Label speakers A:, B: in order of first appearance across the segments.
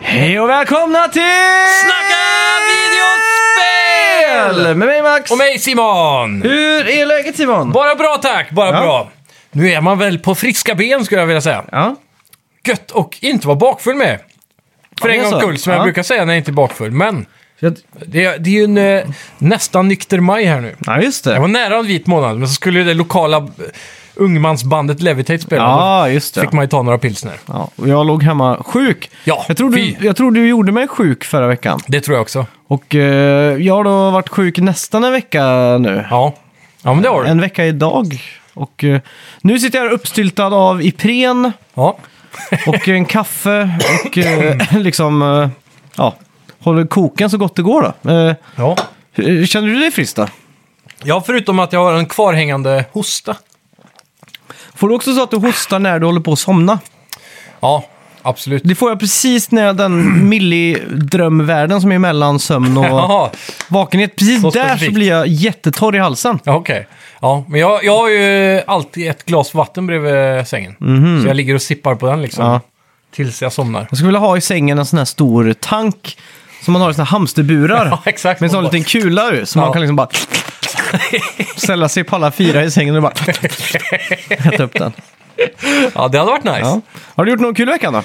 A: Hej och välkomna till
B: Snacka videospel!
A: Med mig Max!
B: Och mig Simon!
A: Hur är läget Simon?
B: Bara bra tack, bara
A: Ja.
B: bra. Nu är man väl på friska ben skulle jag vilja säga.
A: Ja,
B: Gött och inte vara bakfull med. För
A: Ja, det
B: en
A: är
B: gångs
A: så.
B: skull, som
A: Ja.
B: jag brukar säga när jag inte är bakfull. Men
A: jag,
B: det, det är ju en eh, nästan nykter maj här nu.
A: ja just
B: Jag
A: det.
B: var nära en vit månad, men så skulle det lokala eh, ungmansbandet Levitate spela.
A: Ja, just
B: Då
A: det.
B: fick man ju ta några pilsner.
A: Ja, och jag låg hemma sjuk.
B: Ja,
A: jag, tror du,
B: fy.
A: jag tror du gjorde mig sjuk förra veckan.
B: Det tror jag också.
A: Och eh, jag har då varit sjuk nästan en vecka nu.
B: Ja, ja men det har du.
A: En vecka idag. Och eh, nu sitter jag uppstyltad av Ipren
B: Ja.
A: och en kaffe och eh, liksom, eh, ja, håller koken så gott det går då. Eh,
B: Ja.
A: hur- känner du dig frisk då?
B: ja, förutom att jag har en kvarhängande hosta.
A: Får du också så att du hostar när du håller på att somna?
B: Ja, absolut.
A: Det får jag precis när jag- den millidrömvärlden som är mellan sömn och
B: Jaha,
A: vakenhet. Precis
B: Så
A: där så
B: specifikt.
A: blir jag jättetorr i halsen.
B: ja, okej. Ja, men jag, jag har ju alltid ett glas vatten bredvid sängen. Så jag ligger och sippar på den liksom.
A: Mhm. Ja.
B: Tills jag somnar.
A: Jag skulle vilja ha i sängen en sån här stor tank som man har i såna här hamsterburar.
B: Ja, exakt.
A: Med en sån liten kula ur, så man
B: Ja.
A: kan liksom bara ställa sig på alla fyra i sängen och bara äta upp den.
B: Ja, det hade varit nice.
A: Ja.
B: Ja.
A: Har du gjort någon kul i veckan då?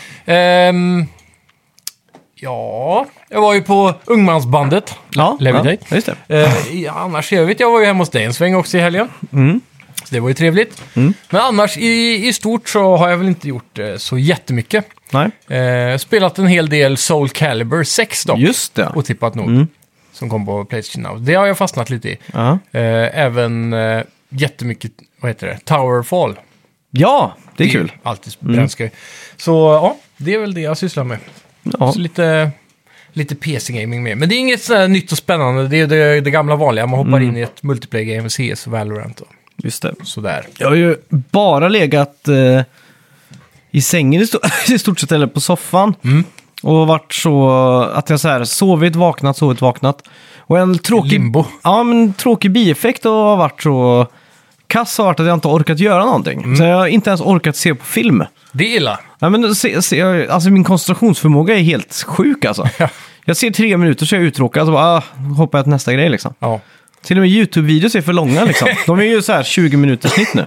B: ja, jag var ju på Ungmansbandet.
A: Ja,
B: Levitate.
A: ja just det.
B: Eh, ja, annars i övrigt, jag var ju hemma hos dig en sväng också i helgen.
A: Mm.
B: Så det var ju trevligt. Men annars i, i stort så har jag väl inte gjort eh, så jättemycket.
A: Nej.
B: Eh, spelat en hel del Soul Calibur 6 dock.
A: Just det.
B: otippat nog.
A: Mm.
B: Som kom på Playstation Now. Det har jag fastnat lite i.
A: Ja.
B: Eh, även eh, jättemycket, vad heter det, Towerfall.
A: ja, det är kul. Mm.
B: Alltid brännskoj. Så ja, det är väl det jag sysslar med.
A: Ja.
B: Så lite, lite PC-gaming med. Men det är inget sådär nytt och spännande. Det är det, det gamla vanliga. Man
A: Mm.
B: hoppar in i ett multiplayer-game, CS och Valorant och
A: Just det.
B: sådär.
A: Jag har ju bara legat eh, i sängen i, sto- i stort sett, eller på soffan. Och varit så att jag så här sovit, vaknat, sovit, vaknat. Och en tråkig,
B: Limbo.
A: Ja, men tråkig bieffekt och har varit så kass har varit att jag inte har orkat göra någonting. Så jag har inte ens orkat se på film.
B: Det är illa.
A: Nej, men se, se, jag- alltså min koncentrationsförmåga är helt sjuk alltså. jag ser tre minuter så är jag uttråkad så bara, ah, hoppar jag till nästa grej liksom.
B: Ja.
A: Till och med YouTube-videos är för långa liksom. De är ju så här 20 minuter snitt nu.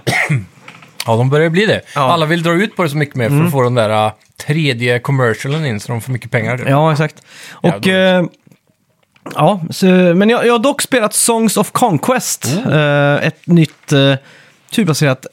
B: ja, de börjar bli det.
A: Ja. Mm.
B: Alla vill dra ut på det så mycket mer för att få den där äh, tredje commercialen in så de får mycket pengar. typ.
A: Ja, exakt. Och...
B: Jävligt.
A: Eh, ja, så, men jag, jag har dock spelat Songs of Conquest. Eh, ett nytt eh, turbaserat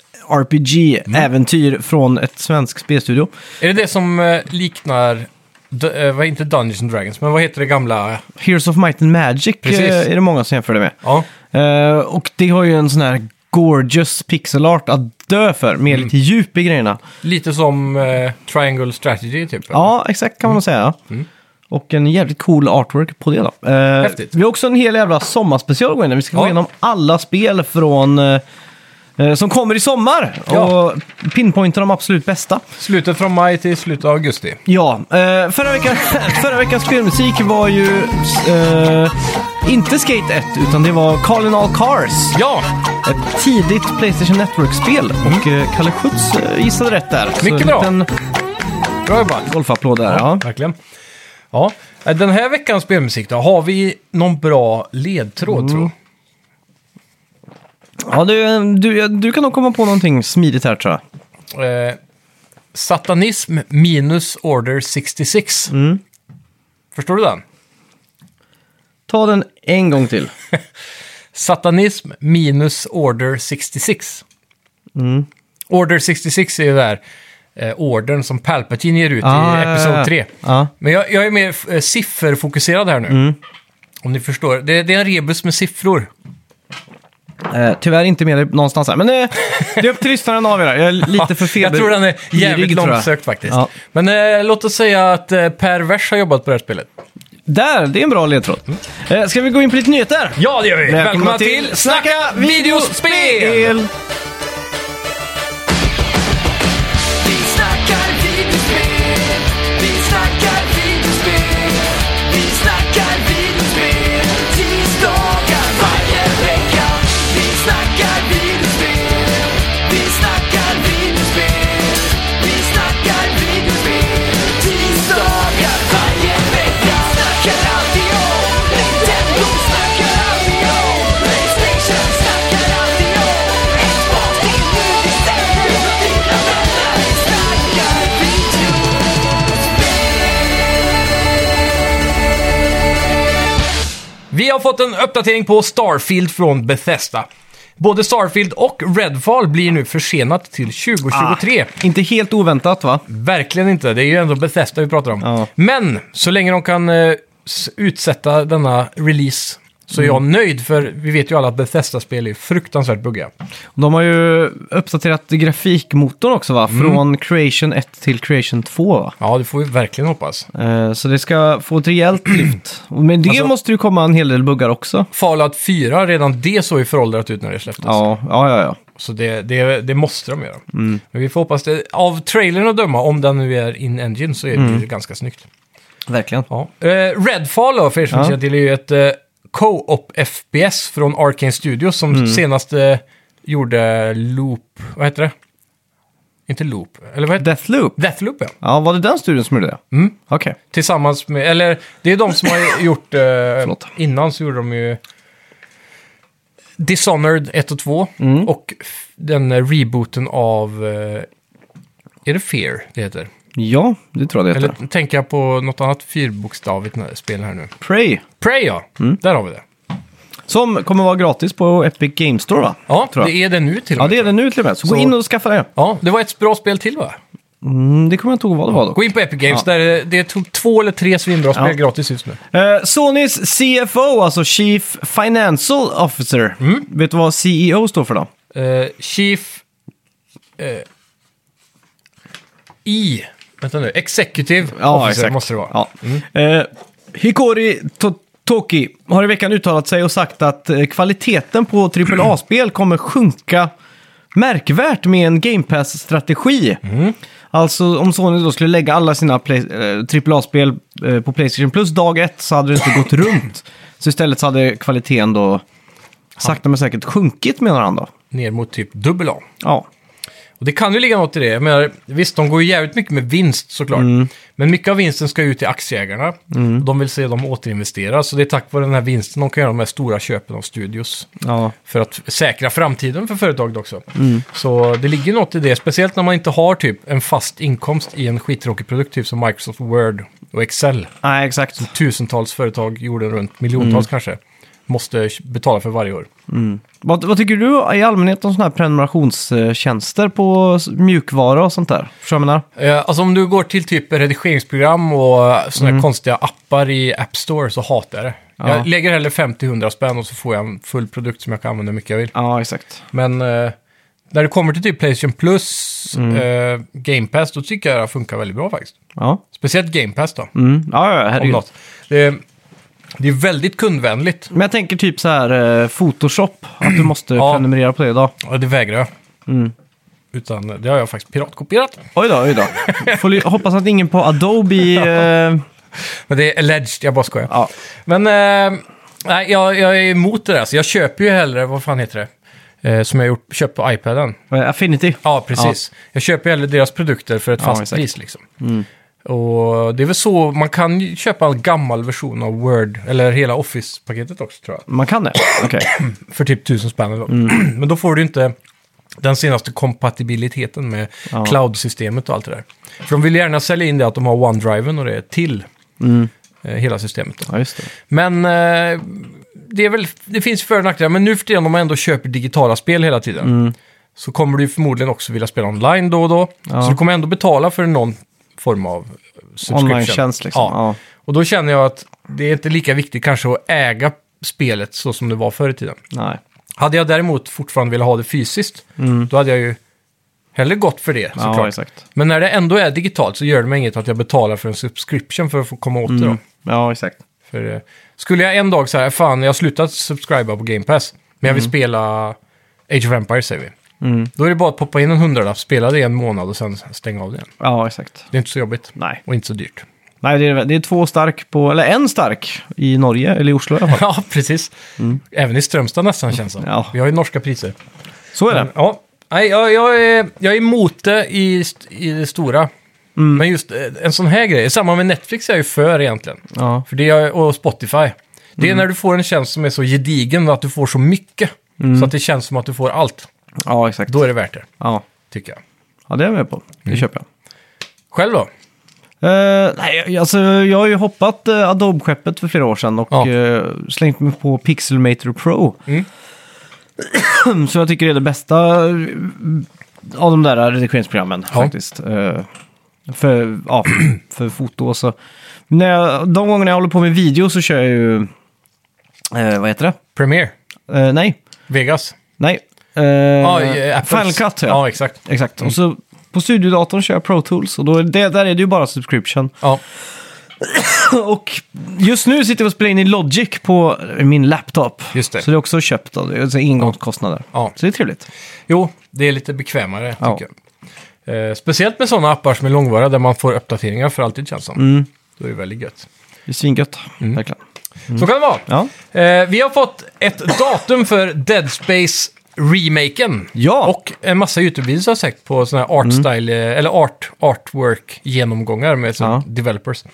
A: RPG-äventyr från ett svensk spelstudio.
B: Är det det som eh, liknar, d- eh, vad- inte Dungeons and Dragons, men vad heter det gamla?
A: Heroes of Might and Magic
B: Precis.
A: eh, är det många som jämför det med.
B: Ja,
A: Eh, och det har ju en sån här gorgeous pixel art att dö för, med lite djup i grejerna.
B: lite som eh, Triangle Strategy typ.
A: Ja, exakt kan man nog
B: Mm.
A: säga. Och en jävligt cool artwork på det då. Eh,
B: Häftigt.
A: Vi har också en hel jävla sommarspecial att gå in i. Vi ska gå
B: Ja.
A: igenom alla spel från, eh, eh, som kommer i sommar.
B: Ja.
A: Och pinpointa de absolut bästa.
B: Slutet från maj till slutet av augusti.
A: Ja, eh, förra, veckan, förra veckans spelmusik var ju eh, inte Skate 1, utan det var Calling All Cars.
B: Ja,
A: Ett tidigt Playstation Network-spel. Och eh, Kalle Schütz eh, gissade rätt där.
B: Mm. Mycket
A: Så
B: bra.
A: En liten
B: bra jobbat.
A: golfapplåd där. Ja.
B: Verkligen. Ja, eh, den här veckans spelmusik då, har vi någon bra ledtråd tror jag?
A: Ja, du, du, du kan nog komma på någonting smidigt här tror jag.
B: Eh, satanism minus Order 66. Förstår du den?
A: Ta den en gång till.
B: Satanism minus Order 66.
A: Mm.
B: Order 66 är ju där eh, ordern som Palpatine ger ut
A: Ah,
B: i
A: ja, ja, ja.
B: Episod 3.
A: Ja. Mm.
B: Men jag, jag är mer eh, sifferfokuserad här nu. Om ni förstår. Det, det är en rebus med siffror.
A: Eh, tyvärr inte med dig någonstans här, men eh, det är upp till lyssnaren av er. här. Jag är lite för feber.
B: jag tror den är jävligt
A: girig, tror jag.
B: långsökt faktiskt.
A: Ja.
B: Men eh, låt oss säga att eh, Per Vers har jobbat på det här spelet.
A: Där, det är en bra ledtråd. Eh, ska vi gå in på lite nyheter?
B: Mm. Ja, det gör vi! Välkomna, till, Snacka videospel!
C: Vi snackar videospel, vi snackar videospel, vi snackar videospel, tisdagar varje vecka. Vi snackar videospel, vi snackar videospel, vi snackar videospel, tisdagar varje
B: Vi har fått en uppdatering på Starfield från Bethesda. Både Starfield och Redfall blir nu försenat till 2023.
A: Ah, Inte helt oväntat va?
B: Verkligen inte. Det är ju ändå Bethesda vi pratar om.
A: Ja.
B: Men så länge de kan eh, s- utsätta denna release så är
A: Mm.
B: jag nöjd. För vi vet ju alla att Bethesda-spel är fruktansvärt buggiga.
A: De har ju uppdaterat grafikmotorn också
B: Mm.
A: va? Från Creation 1 till Creation 2 va?
B: Ja, det får vi verkligen hoppas.
A: Eh, Så det ska få ett rejält lyft. Och Med det
B: Alltså-
A: måste det ju komma en hel del buggar också.
B: Fallout 4, redan det såg ju föråldrat ut när det släpptes.
A: Ja, Mm. ja, ja. ja.
B: Så det, det, det måste de göra. Men vi får hoppas det. Av trailern att döma, om den nu är in-engine, så är det
A: Mm.
B: ju ganska snyggt.
A: Verkligen.
B: Ja. Eh, Redfall då, för er som
A: Ja.
B: inte känner till, är ju ett eh, co-op FPS från Arcane Studios som
A: Mm.
B: senast eh, gjorde Loop, vad heter det? Inte Loop, eller vad heter
A: Deathloop.
B: det? Deathloop ja.
A: Ja, var det den studion som gjorde det? Mm. Okej.
B: Tillsammans med, eller det är de som har gjort, eh,
A: Förlåt.
B: innan så gjorde de ju Dishonored 1 och 2
A: Mm.
B: och f- den eh, rebooten av, eh, är det Fear det heter?
A: Ja, det tror jag det heter.
B: Eller tänker jag på något annat fyrbokstavigt spel här nu?
A: Prey.
B: Prey ja,
A: Mm.
B: där har vi det.
A: Som kommer vara gratis på Epic Game Store va?
B: Ja,
A: tror jag.
B: det är det nu till och
A: Ja,
B: med.
A: det är det nu till och med. Så,
B: Så-
A: gå in och skaffa det.
B: Ja, det var ett bra spel till va?
A: Mm, det kommer jag inte ihåg vad det var dock.
B: Gå in på Epic Games, där eh, det, det tog två eller tre svinbra spel
A: Ja.
B: gratis just nu.
A: Eh, Sonys CFO, alltså Chief Financial Officer.
B: Mm.
A: Vet du vad CEO står för då?
B: Eh, Chief... eh, I... Vänta nu, Executive Officer måste det vara. Mm.
A: Ja. Eh, Hikori To- Toki har i veckan uttalat sig och sagt att eh, kvaliteten på AAA-spel kommer sjunka märkvärt med en Game Pass-strategi.
B: Mm.
A: Alltså om Sony då skulle lägga alla sina play- eh, AAA-spel eh, på Playstation Plus dag ett så hade det inte gått runt. Så istället så hade kvaliteten då sakta men säkert sjunkit menar han då.
B: Ner mot typ dubbel A.
A: Ja,
B: Och det kan ju ligga något i det. Jag menar, visst, de går ju jävligt mycket med vinst såklart.
A: Mm.
B: Men mycket av vinsten ska ut till aktieägarna. De vill se dem återinvestera. Så det är tack vare den här vinsten de kan göra de här stora köpen av studios.
A: ja.
B: för att säkra framtiden för företaget också. Så det ligger något i det, speciellt när man inte har typ en fast inkomst i en skittråkig produkt, typ som Microsoft Word och Excel.
A: Nej, exakt.
B: Tusentals företag jorden runt, miljontals kanske, måste betala för varje år.
A: Vad, vad tycker du i allmänhet om sådana här prenumerationstjänster på s- mjukvara och sånt där? Förstår du vad jag menar?
B: Eh, Alltså om du går till typ redigeringsprogram och sådana här konstiga appar i App Store så hatar jag det. Jag lägger hellre 50-100 spänn och så får jag en full produkt som jag kan använda hur mycket jag vill.
A: Ja, exakt.
B: Men eh, när det kommer till typ Playstation Plus, eh, Game Pass, då tycker jag det funkar väldigt bra faktiskt.
A: Ja,
B: Speciellt Game Pass då,
A: mm. ja, ja
B: om
A: herregud.
B: något. Det är, det är väldigt kundvänligt.
A: Men jag tänker typ så här eh, Photoshop, att du måste
B: Ja.
A: prenumerera på det idag.
B: Ja, det vägrar jag.
A: Mm.
B: Utan det har jag faktiskt piratkopierat.
A: Oj då, oj då. Får li- hoppas att ingen på Adobe... Eh,
B: Men det är alleged, jag bara skojar.
A: ja.
B: Men eh, nej, jag, jag är emot det där, så jag köper ju hellre, vad fan heter det? Eh, som jag gjort, köpt på iPaden.
A: eh, Affinity.
B: Ja, precis. Jag köper ju hellre deras produkter för ett
A: Ja,
B: fast
A: exakt. Mm.
B: pris liksom. Och det är väl så, man kan ju köpa en gammal version av Word, eller hela Office-paketet också tror jag.
A: Man kan det? Okej.
B: för typ tusen spänn. eller
A: Mm.
B: Men då får du inte den senaste kompatibiliteten med cloud-systemet och allt det där. För de vill gärna sälja in det att de har OneDriven och det till
A: Mm.
B: eh, hela systemet. Då.
A: Ja, just det.
B: Men eh, det, är väl, det finns för och nackdelar, men nu för tiden om man ändå köper digitala spel hela tiden
A: Mm.
B: så kommer du förmodligen också vilja spela online då och då. Så du kommer ändå betala för någon form av subscription.
A: Online-tjänst liksom.
B: Ja.
A: Ja.
B: Och då känner jag att det är inte lika viktigt kanske att äga spelet så som det var förr i tiden.
A: Nej.
B: Hade jag däremot fortfarande velat ha det fysiskt, då hade jag ju hellre gått för det såklart.
A: Mm. Ja, exakt.
B: Men när det ändå är digitalt så gör det mig inget att jag betalar för en subscription för att få komma åt
A: Mm.
B: det då.
A: Ja, exakt.
B: För, eh, skulle jag en dag säga, fan jag har slutat subscriba på Game Pass, men jag vill
A: Mm.
B: spela Age of Empires säger vi. Då är det bara att poppa in en hundralapp, spela det i en månad och sen stänga av det igen.
A: Ja, exakt.
B: Det är inte så jobbigt.
A: Nej.
B: Och inte så dyrt.
A: Nej, det är, det är två stark på... Eller en stark i Norge, eller i Oslo i alla fall.
B: ja, precis. Även i Strömstad nästan känns det som.
A: Mm. Ja.
B: Vi har ju norska priser.
A: Så är det.
B: Men, ja. Nej, jag, jag, är, jag är emot det i, st- i det stora.
A: Mm.
B: Men just eh, en sån här grej, samma med Netflix är jag ju för egentligen.
A: Ja.
B: För det är, och Spotify. Det är
A: Mm.
B: när du får en tjänst som är så gedigen att du får så mycket.
A: Mm.
B: Så att det känns som att du får allt.
A: Ja, exakt.
B: Då är det värt det,
A: Ja.
B: tycker jag. Mm.
A: ja, det är jag med på. Det köper jag.
B: Själv då?
A: Eh, nej, alltså, jag har ju hoppat eh, Adobe-skeppet för flera år sedan och
B: Ja.
A: eh, slängt mig på Pixelmator Pro.
B: Mm.
A: mm, Som jag tycker är det bästa eh, av de där redigeringsprogrammen
B: Ja.
A: faktiskt. Eh, för, ja, för foto och så. När jag, de gångerna jag håller på med video så kör jag ju... eh, vad heter det?
B: Premiere,
A: Eh, nej.
B: Vegas.
A: Nej. Eh,
B: Ja, i Apples.
A: Final Cut, ja.
B: Ja, Mm. exakt.
A: Exakt. Och så på studiodatorn kör jag Pro Tools och då är det, där är det ju bara subscription.
B: Ja,
A: Och just nu sitter vi och spelar in i Logic på min laptop.
B: Just det.
A: Så det är också köpt av det. Alltså ingångskostnader.
B: Ja.
A: Så det är trevligt.
B: jo, det är lite bekvämare
A: Ja.
B: tycker jag. Eh, speciellt med sådana appar som är långvariga där man får uppdateringar för alltid känns som.
A: Mm.
B: Då är det väldigt gött.
A: Det är svingött.
B: Mm.
A: Verkligen.
B: Så kan det vara.
A: Ja.
B: Eh, vi har fått ett datum för Dead Space remaken.
A: Ja. Mm.
B: Och en massa YouTube-videos har jag sett på sådana här art style, eh, eller art, artwork-genomgångar med såna
A: Ja. Mm.
B: developers.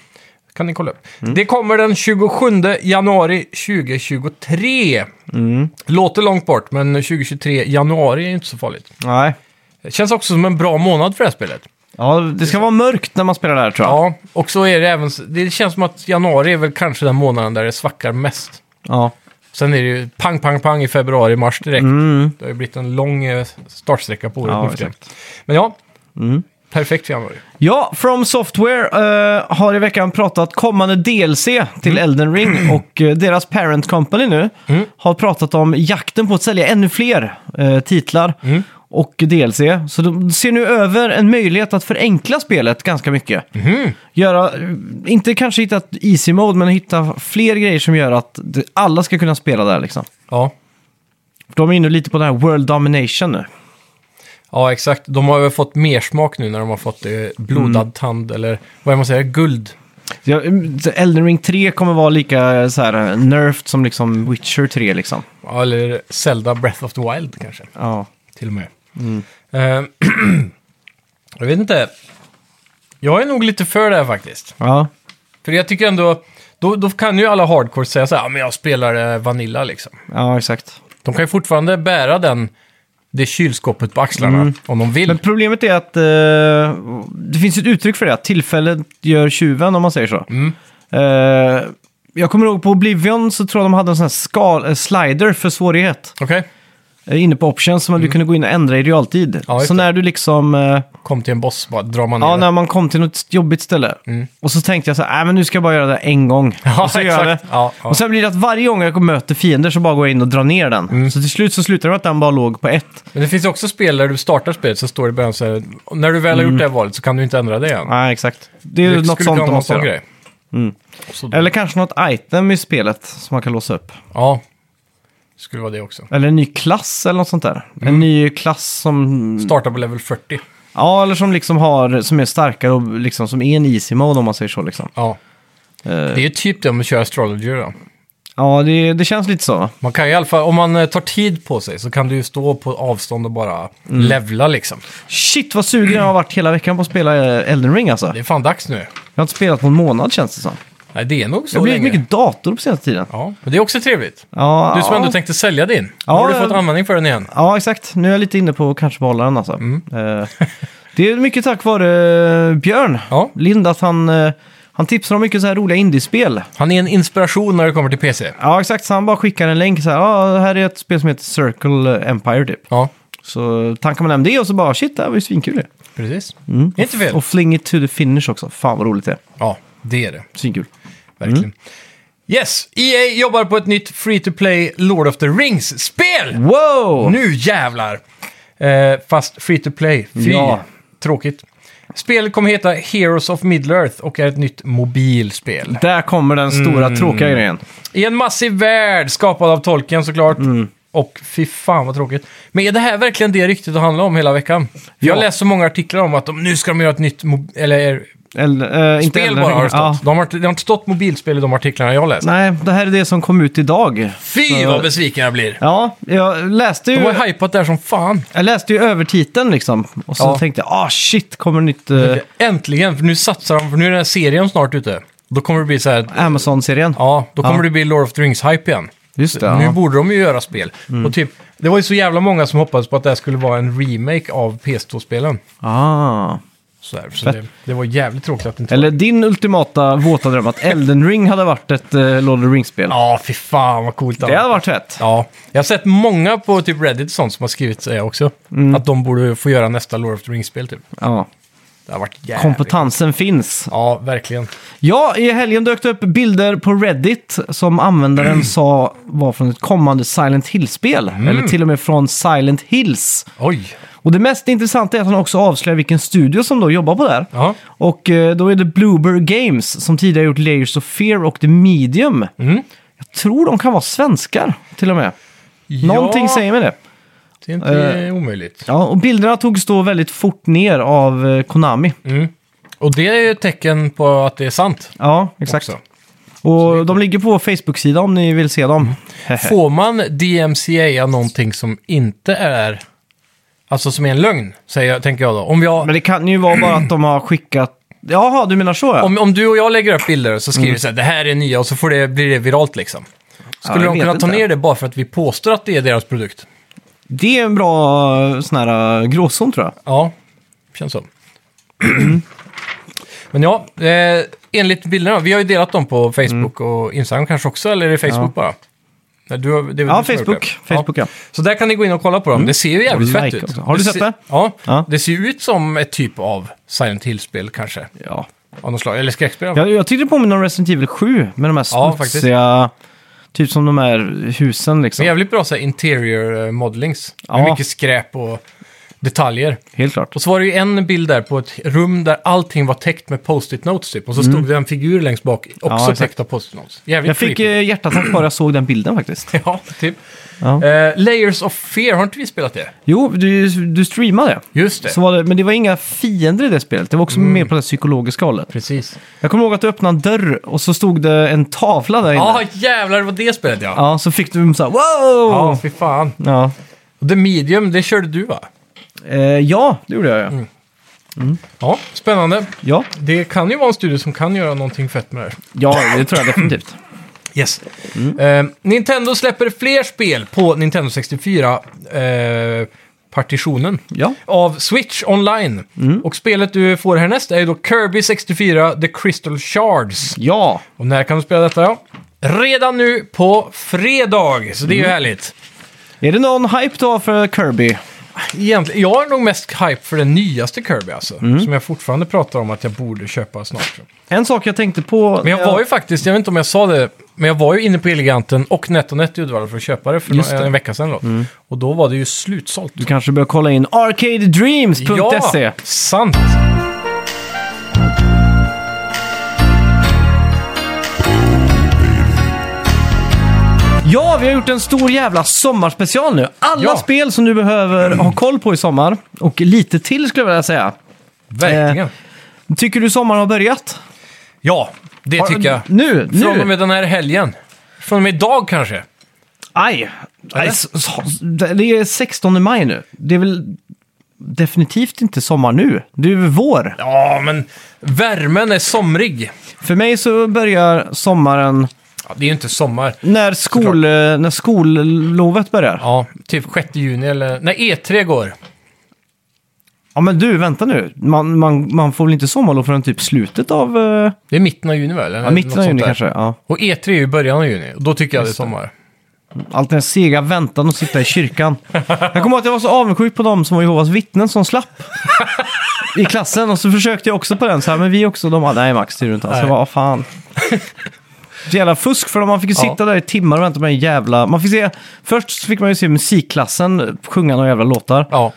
B: Kan ni kolla upp. Det kommer den 27 januari 2023.
A: Mm.
B: Låter långt bort, men 2023 januari är inte så farligt.
A: Nej.
B: Det känns också som en bra månad för det här spelet.
A: Ja, det ska vara mörkt när man spelar det här tror jag.
B: Ja, och så är det även... Det känns som att januari är väl kanske den månaden där det svackar mest.
A: Ja.
B: Sen är det ju pang, pang, pang i februari, mars direkt. Det har ju blivit en lång eh, startsträcka på året
A: Ja,
B: nu för tiden. Men ja, perfekt för januari.
A: Ja, From Software eh, har i veckan pratat kommande DLC till Elden Ring och eh, deras parent company nu har pratat om jakten på att sälja ännu fler eh, titlar och DLC. Så de ser nu över en möjlighet att förenkla spelet ganska mycket. Göra, eh, inte kanske hitta ett easy mode, men hitta fler grejer som gör att det- alla ska kunna spela där liksom.
B: Ja.
A: De är inne lite på den här World Domination nu.
B: ja, exakt. De har väl fått mer smak nu när de har fått eh, blodad tand eller vad är man säger, guld.
A: Ja, mm, Elden Ring 3 kommer vara lika eh, så här, nerfed som liksom Witcher 3 liksom.
B: Ja, eller Zelda Breath of the Wild kanske,
A: Ja.
B: till och med. Eh, jag vet inte. Jag är nog lite för det här faktiskt.
A: Ja.
B: För jag tycker ändå, då, då kan ju alla hardcore säga så här, "Ja, men jag spelar eh, Vanilla liksom.
A: ja, exakt.
B: De kan ju fortfarande bära den, det kylskåpet på axlarna om de vill.
A: Mm. Men problemet är att eh, det finns ett uttryck för det, att tillfället gör tjuven om man säger så.
B: Mm.
A: Eh, jag kommer ihåg på Oblivion så tror jag de hade en sån här skal, eh, slider för svårighet
B: Okej,
A: eh, inne på options som du kunde gå in och ändra i realtid.
B: Mm. Ja, just
A: så
B: det.
A: när du liksom... eh,
B: kom till en boss, bara drar man
A: Ja,
B: ner den.
A: när man kom till något jobbigt ställe. Och så tänkte jag så här, "Nej, men nu ska jag bara göra det en gång.
B: Mm. Ja,
A: och så gör jag det.
B: exakt. Ja, ja.
A: Och sen blir det att varje gång jag möter fiender så bara går jag in och drar ner den.
B: Mm.
A: Så till slut så slutar det med att den bara låg på ett.
B: Men det finns också spel där du startar spelet så står det i början så här, när du väl har gjort det här valet så kan du inte ändra det igen.
A: Mm. Nej, exakt. Det är
B: Det
A: ju något
B: skulle kunna
A: sånt de
B: vara någon
A: måste
B: sån
A: göra. Mm.
B: grej. Och Så,
A: Eller kanske något item i spelet som man kan låsa upp.
B: Ja, det skulle vara det också.
A: Eller en ny klass eller något sånt där.
B: Mm.
A: En ny klass som...
B: Starta på level 40.
A: Ja, eller som liksom har... Som är starkare och liksom som är en easy mode om man säger så liksom.
B: Ja. Det är ju typ det om du kör Astrologer då.
A: Ja, det, det känns lite så. va?
B: Man kan ju i alla fall, om man eh, tar tid på sig så kan du ju stå på avstånd och bara
A: Mm.
B: levla liksom.
A: Shit vad sugen jag har varit hela veckan på att spela eh, Elden Ring alltså.
B: Det är fan dags nu.
A: Jag har inte spelat på en månad känns det som.
B: Nej, det är nog
A: Det
B: så
A: har blivit
B: länge.
A: mycket dator på senaste tiden.
B: Ja, men det är också trevligt.
A: Ja,
B: Du som
A: ja.
B: ändå tänkte sälja din.
A: Ja,
B: har du
A: jag-
B: fått användning för den igen?
A: Ja, exakt. Nu är jag lite inne på att kanske behålla den alltså.
B: Mm.
A: Eh, det är mycket tack vare eh, Björn
B: Ja.
A: Lind att han, eh, han tipsar om mycket så här roliga indiespel.
B: Han är en inspiration när det kommer till PC.
A: Ja, exakt. Så han bara skickar en länk så här. Ja, det här är ett spel som heter Circle Empire typ.
B: Ja,
A: Så tankar man hem det och så bara shit, det här var ju svinkul det.
B: precis. Inte fel.
A: Och Fling it to the finish också. Fan vad roligt det är.
B: Mm. Ja, det är det.
A: Svinkul.
B: Verkligen.
A: Mm.
B: Yes, EA jobbar på ett nytt free-to-play Lord of the Rings-spel!
A: Mm. Wow!
B: Nu jävlar! Eh, fast free-to-play. Fy,
A: Ja.
B: tråkigt. Spelet kommer heta Heroes of Middle-earth och är ett nytt mobilspel.
A: Där kommer den stora
B: Mm.
A: tråkiga grejen.
B: I en massiv värld skapad av Tolkien såklart.
A: Mm.
B: Och fy fan vad tråkigt. Men är det här verkligen det ryktet att handla om hela veckan? Jag har
A: Ja.
B: läst så många artiklar om att de, nu ska de göra ett nytt mo- eller,
A: Eller, eh, inte
B: spel
A: Elden
B: bara
A: Ring.
B: har det stått.
A: Ja.
B: De, har, inte- det har inte stått mobilspel i de artiklarna jag har läst.
A: Nej, det här är det som kom ut idag.
B: Fy vad besviken jag blir!
A: Ja, jag läste
B: De
A: ju,
B: har ju hypat det här som fan.
A: jag läste ju övertiteln liksom. Och så
B: Ja.
A: tänkte jag, ah shit, kommer nytt eh,
B: Äntligen, för nu satsar de, för nu är den här serien snart ute. Då kommer det bli så här,
A: Amazon-serien?
B: ja, då kommer
A: Ja.
B: det bli Lord of the Rings-hype igen.
A: Just det.
B: Nu
A: Ja. Mm.
B: borde de ju göra spel. Och typ, det var ju så jävla många som hoppades på att det här skulle vara en remake av PS2-spelen.
A: Ah.
B: Sådär. Så det, det var jävligt tråkigt att det inte
A: Eller din ultimata våta dröm att Elden Ring hade varit ett eh, Lord of the Rings-spel.
B: Ja, fy fan vad coolt
A: Det hade varit fett.
B: Ja, jag har sett många på typ Reddit och sånt som har skrivit det också.
A: Mm.
B: Att de borde få göra nästa Lord of the Rings-spel typ.
A: Ja.
B: Det har varit jävligt...
A: Kompetensen finns.
B: Ja, verkligen.
A: Ja, i helgen dök det upp bilder på Reddit som användaren sa var från ett kommande Silent Hill-spel.
B: Mm.
A: Eller till och med från Silent Hills.
B: Oj!
A: Och det mest intressanta är att han också avslöjar vilken studio som då jobbar på det här.
B: Ja,
A: Och eh, då är det Bloober Games som tidigare gjort Layers of Fear och The Medium.
B: Mm.
A: Jag tror de kan vara svenskar till och med. Någonting
B: ja,
A: säger Eh. mig det.
B: Det är inte omöjligt.
A: Ja, och bilderna togs då väldigt fort ner av eh, Konami.
B: Mm. Och det är ju ett tecken på att det är sant.
A: Ja, exakt.
B: också.
A: Och de ligger på vår Facebook-sida om ni vill se
B: Mm.
A: dem.
B: Får man DMCA någonting som inte är... Alltså som är en lögn, säger jag, tänker jag då. Om, jag,
A: Men det kan ju vara bara att de har skickat... Jaha, du menar så ja.
B: om, om du och jag lägger upp bilder så skriver
A: Mm.
B: vi så här, det här är nya och så får det, blir det viralt liksom.
A: jag
B: Skulle de
A: vet
B: kunna ta
A: inte.
B: ner det bara för att vi påstår att det är deras produkt?
A: Det är en bra eh, sån här eh, gråzon tror jag.
B: Ja, känns så. Men ja, eh, enligt bilderna, vi har ju delat dem på Facebook
A: Mm.
B: och Instagram kanske också, eller är det Facebook bara? Nej, du, har- det är väl
A: Ja,
B: du som har gjort
A: Facebook.
B: det.
A: Facebook, ja.
B: Så där kan ni gå in och kolla på dem. Det ser ju jävligt
A: Och
B: fett
A: like
B: ut.
A: också. Har du sett
B: ser-
A: det?
B: Ja,
A: Ja.
B: det ser ju ut som ett typ av Silent Hill-spel kanske.
A: Ja.
B: Av något slag. Eller skräckspel. Ja.
A: Jag, jag tyckte det påminner om Resident Evil 7 med de här
B: Ja,
A: smutsiga... typ som de här husen liksom.
B: Jävligt bra så här, interior eh, modelings. Med
A: Ja.
B: mycket skräp och detaljer.
A: Helt klart.
B: Och så var det ju en bild där på ett rum där allting var täckt med post-it notes typ. Och så stod det en figur längst bak
A: Mm. Ja,
B: också
A: exakt.
B: täckt av post-it notes. Jävligt
A: Jag fick
B: creepy.
A: eh, hjärtattack bara jag såg den bilden faktiskt.
B: Ja, typ.
A: Ja.
B: Eh, Layers of Fear, har inte vi spelat det?
A: Jo, du, du streamade.
B: Just det. Mm.
A: Så var det, men det var inga fiender i det spelet. Det var också mer på det psykologiska hållet.
B: Precis.
A: Jag kommer ihåg att du öppnade en dörr och så stod det en tavla där inne.
B: Ja, ah, jävlar vad det spelet ja.
A: Ja, så fick du så här wow!
B: Ja, fy fan.
A: Ja.
B: Och The Medium, det körde du va?
A: Eh, ja, det gjorde jag. Ja.
B: Mm. Ja, spännande.
A: Ja.
B: Det kan ju vara en studio som kan göra någonting fett med det här.
A: ja, det tror jag definitivt.
B: Yes. Eh, Nintendo släpper fler spel på Nintendo 64-partitionen.
A: Ja.
B: av Switch Online. Och spelet du får härnäst är ju då Kirby 64 The Crystal Shards.
A: Ja,
B: Och när kan du spela detta? Ja? Redan nu på fredag, så det är ju härligt.
A: är det någon hype då för Kirby?
B: Egentligen, jag är nog mest hype för den nyaste Kirby alltså. Som jag fortfarande pratar om att jag borde köpa snart.
A: En sak jag tänkte på...
B: Men jag var ju faktiskt, jag vet inte om jag sa det, men jag var ju inne på Eleganten och NetOnNet i Uddevalla för att köpa det för
A: Just
B: en,
A: det. Mm.
B: en vecka sedan. Då. Och då var det ju slutsålt.
A: Du kanske bör kolla in arcadedreams.se.
B: Ja, sant.
A: Ja, vi har gjort en stor jävla sommarspecial nu. Alla
B: Ja.
A: spel som du behöver ha koll på i sommar, och lite till skulle jag vilja säga.
B: Verkligen.
A: Eh, Tycker du sommaren har börjat?
B: Ja, det tycker jag.
A: Nu, nu!
B: Från och med den här helgen. Från och med idag kanske.
A: Aj! Aj s- s- det är 16 maj nu. Det är väl definitivt inte sommar nu. Det är väl vår.
B: Ja, men värmen är somrig.
A: För mig så börjar sommaren
B: Ja, det är ju inte sommar.
A: när, skol, när skollovet börjar.
B: Ja, typ 6 juni eller... När E3 går.
A: Ja men du, vänta nu. Man, man, man får väl inte sommarlov förrän typ slutet av... eh,
B: Det är mitten av juni väl? Eller
A: Ja, mitten
B: något
A: av
B: sånt
A: juni
B: där.
A: kanske. Ja.
B: Och E3 är ju början av juni. Och då tycker jag det är sommar.
A: Allt den här sega väntan och sitta i kyrkan. Jag kommer ihåg att jag var så avundsjuk på de som var Jehovas vittnen som slapp. I klassen och så försökte jag också på den så här, men vi också. De bara, nej Max, det är du inte alls. Jag
B: Nej.
A: bara, "Vad fan. Så jävla fusk för man fick ju
B: Ja.
A: sitta där i timmar och vänta på en jävla... Man fick se, först fick man ju se musikklassen sjunga några jävla låtar.
B: Ja.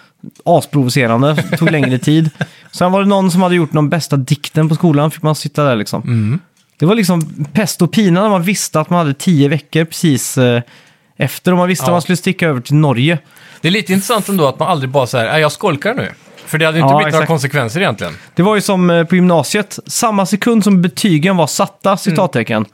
A: Asprovocerande, tog längre tid. Sen var det någon som hade gjort någon bästa dikten på skolan, fick man sitta där liksom. Det var liksom pest och pina när man visste att man hade tio veckor precis eh, efter. Och man visste
B: Ja.
A: att man skulle sticka över till Norge.
B: Det är lite intressant ändå att man aldrig bara säger "Nej, jag skolkar nu. För det hade ju inte
A: Ja,
B: blivit några
A: exakt.
B: konsekvenser egentligen.
A: Det var ju som eh, på gymnasiet, samma sekund som betygen var satta, citattecken,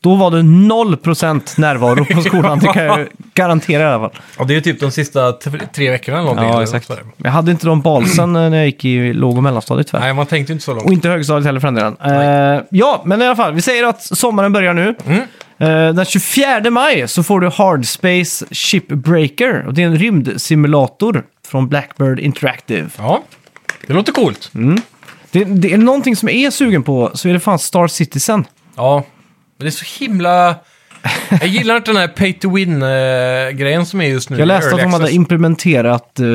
A: då var det 0% närvaro på skolan. Det kan jag ju garantera i alla fall.
B: Och det är ju typ de sista t- tre veckorna eller någonting.
A: Ja,
B: eller
A: exakt.
B: sådär.
A: Jag hade inte de balsen eh, när jag gick i låg och mellanstadiet tyvärr.
B: Nej, man tänkte ju inte så långt.
A: Och inte högstadiet heller för den delen. Eh, ja, men i alla fall. Vi säger att sommaren börjar nu.
B: Mm.
A: Eh, den 24 maj så får du Hard Space Shipbreaker. Och det är en rymdsimulator från Blackbird Interactive. Mm.
B: Ja, det låter coolt.
A: Det, det är någonting som jag är sugen på så är det fan Star Citizen.
B: Ja, men det är så himla... Jag gillar inte den här pay to win-grejen som är just nu.
A: Jag läste att
B: Early
A: de hade
B: access.
A: implementerat eh,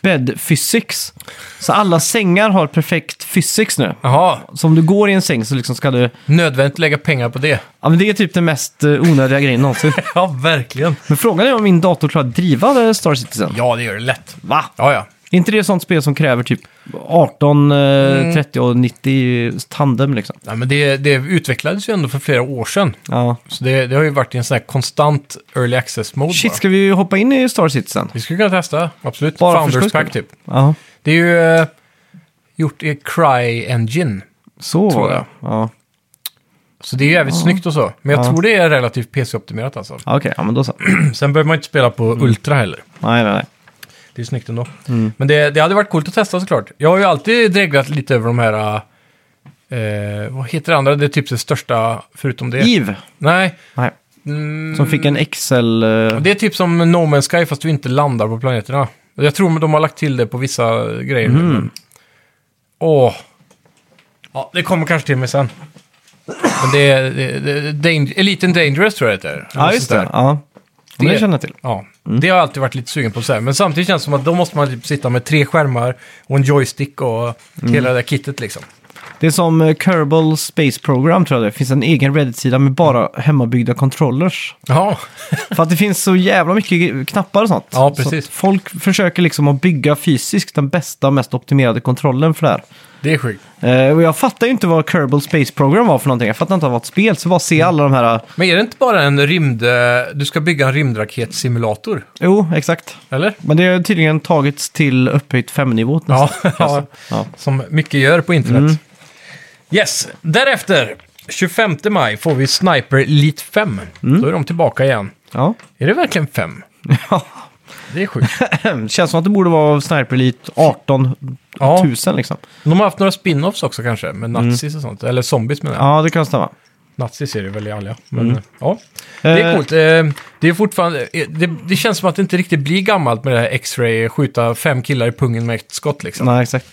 A: bed physics. Så alla sängar har perfekt physics nu.
B: Jaha,
A: Så om du går i en säng så liksom ska du...
B: nödvändigt lägga pengar på det.
A: Ja, men det är typ den mest eh, onödiga grejen någonsin.
B: Ja, verkligen.
A: Men frågan är om min dator klarar att driva eh, Star Citizen.
B: Ja, det gör det lätt.
A: Va?
B: Ja, ja.
A: Är inte det sånt spel som kräver typ 18, eh,
B: Mm.
A: 30 och 90 tandem liksom?
B: Nej, men det, det utvecklades ju ändå för flera år sedan.
A: Ja.
B: Så det, det har ju varit i en sån här konstant early access-mode.
A: Shit,
B: bara.
A: ska vi hoppa in i Star Citizen?
B: Vi skulle kunna testa, absolut.
A: Bara för
B: Founders
A: skojs
B: Pack
A: skull.
B: typ.
A: Ja,
B: Det är ju eh, gjort i Cry Engine.
A: så
B: Tror
A: var
B: jag.
A: det. Ja,
B: Så det är ju jävligt snyggt och så. Men jag
A: Ja.
B: tror det är relativt PC-optimerat alltså.
A: Ja, okej. Ja, men då så.
B: Sen behöver man inte spela på Ultra heller.
A: Nej, nej, nej.
B: Det är snyggt ändå. Men det, det hade varit coolt att testa såklart. Jag har ju alltid dreglat lite över de här... Eh, vad heter det andra? Det är typ det största förutom det.
A: Eve,
B: Nej.
A: nej,
B: Mm,
A: som fick en XL... eh,
B: Det är typ som No Man's Sky fast du inte landar på planeterna. Och Jag tror de har lagt till det på vissa grejer.
A: Mm.
B: nu, men- Åh. Ja, det kommer kanske till mig sen. Men det är... Det, det, Dang- Elite and Dangerous tror jag det heter.
A: Ja, just det. Ja. Det,
B: Det-
A: det känner jag till. Mm.
B: Ja, det har jag alltid varit lite sugen på. Så här. Men samtidigt känns det som att då måste man typ sitta med tre skärmar och en joystick och
A: Mm.
B: hela det där kittet liksom.
A: Det är som eh, Kerbal Space Program tror jag det är. Det finns en egen Reddit-sida med bara hemmabyggda controllers.
B: Ja,
A: För att det finns så jävla mycket knappar och sånt.
B: Ja, precis.
A: Så att folk försöker liksom att bygga fysiskt den bästa, mest optimerade kontrollen för det här.
B: det är sjukt.
A: Eh, och jag fattar ju inte vad Kerbal Space Program var för någonting. Jag fattar inte att det var ett spel. Så bara se
B: Mm.
A: alla de här... eh,
B: Men är det inte bara en rymd... eh, Du ska bygga en rymdraketsimulator,
A: Jo, exakt.
B: eller?
A: Men det har tydligen tagits till upphöjt femnivå nästan. Alltså,
B: ja.
A: Ja.
B: som mycket gör på internet.
A: Mm.
B: Yes, därefter 25 maj får vi Sniper Elite 5.
A: Mm.
B: Då är de tillbaka igen.
A: ja.
B: Är det verkligen 5? Det är sjukt.
A: Känns som att det borde vara Sniper Elite 18
B: Ja.
A: 000 liksom.
B: De har haft några spin-offs också kanske, med nazis och sånt. Eller zombies menar jag.
A: Mm. Ja, Mm. det kan stämma.
B: Nazis är det väl i alla, men ja. Det är coolt. Eh, Det är fortfarande... eh, Det, det känns som att det inte riktigt blir gammalt med det här X-ray, skjuta fem killar i pungen med ett skott liksom.
A: Nej, exakt.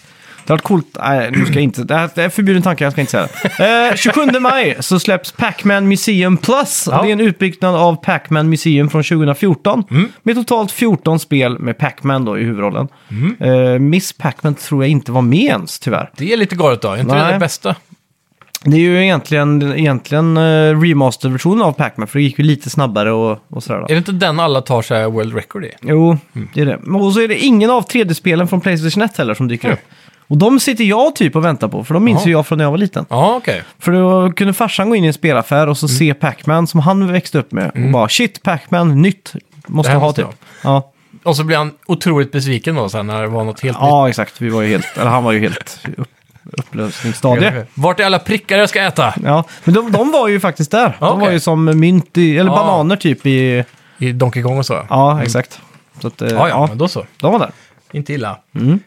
A: Det har varit coolt. Nej, nu ska jag inte... Det här det här är förbjuden tanke, jag ska inte säga det. Eh, 27 maj så släpps Pac-Man Museum Plus.
B: Ja.
A: Det är en utbyggnad av Pac-Man Museum från 2014.
B: Mm.
A: Med totalt 14 spel med Pac-Man då i huvudrollen.
B: Mm.
A: Eh, Miss Pac-Man tror jag inte var med ens, tyvärr.
B: Det är lite galet då, är inte det
A: Nej.
B: det bästa?
A: Det är ju egentligen, egentligen eh, remasterversionen av Pac-Man, för det gick ju lite snabbare och, och sådär. Då.
B: Är det Mm. inte den alla tar så här world record i?
A: Jo, det är det. Men- Och så är det ingen av 3D-spelen från Playstation 1 heller som dyker
B: Mm.
A: upp. Och de sitter jag typ och väntar på, för de minns
B: Jaha.
A: ju jag från när jag var liten.
B: Ja, okej.
A: För då kunde farsan gå in i en spelaffär och så
B: Mm.
A: se Pac-Man som han växte upp med. Och bara shit, Pac-Man, nytt. Måste
B: Det här
A: jag ha
B: måste
A: typ. Ja.
B: Och så blir han otroligt besviken då sen när det var något helt nytt.
A: ja, exakt. Vi var ju helt, eller han var ju helt i upp, upplösningsstadie.
B: Vart är alla prickar jag ska äta?
A: Ja, men de, de var ju faktiskt där. De
B: Okej. Ah.
A: var ju som mynt i, eller
B: Ja.
A: bananer typ i,
B: I Donkey Kong och så. Ja,
A: ja exakt. Så att, eh,
B: Mm. Ah, ja,
A: ja, Mm.
B: men då så.
A: de var där.
B: Inte illa.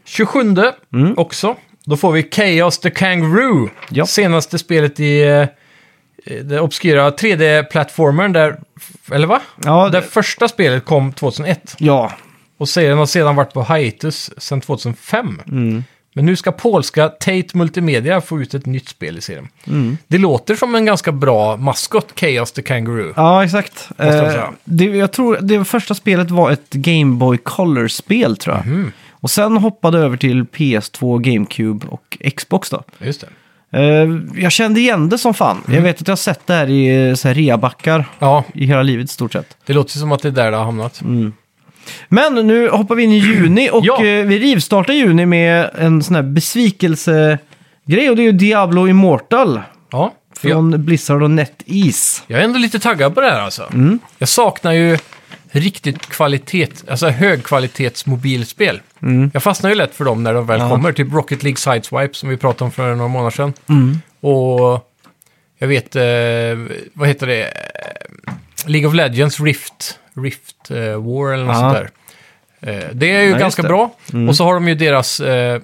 B: 27 också. Då får vi Chaos the Kangaroo.
A: Mm. Ja.
B: Senaste spelet i eh, det obskyra 3D-plattformen där... Eller va?
A: Ja,
B: Där
A: det,
B: första spelet kom 2001.
A: ja,
B: Och serien har sedan varit på hiatus sedan 2005.
A: Mm.
B: Men nu ska polska Tate Multimedia få ut ett nytt spel i serien.
A: Mm.
B: Det låter som en ganska bra maskot, Chaos the Kangaroo.
A: ja, exakt.
B: jag
A: Eh,
B: säga.
A: det, jag tror det första spelet var ett Game Boy Color-spel tror jag.
B: Mhm.
A: Och sen hoppade över till PS2, GameCube och Xbox då.
B: Just det.
A: Eh, jag kände igen det som fan.
B: Mm.
A: Jag vet att jag har sett det här i eh, så här, reabackar
B: Ja,
A: i hela livet i stort sett.
B: det låter som att det är där det har hamnat.
A: Mm. Men nu hoppar vi in i juni och
B: Ja.
A: eh, vi rivstartar juni med en sån här besvikelsegrej och det är ju Diablo Immortal
B: Ja, för jag,
A: från Blizzard och NetEase.
B: jag är ändå lite taggad på det här alltså.
A: Mm.
B: Jag saknar ju riktigt kvalitet, alltså högkvalitetsmobilspel. Jag fastnar ju lätt för dem när de väl
A: Mm. Ja.
B: kommer, typ Rocket League Sideswipe som vi pratade om för några månader sedan.
A: Mm.
B: Och jag vet, eh, vad heter det, Eh, League of Legends Rift, Rift eh, War eller något
A: Ja.
B: sånt där. Eh, det är ju
A: just
B: ganska
A: det. Mm.
B: bra. Och så har de ju deras, eh,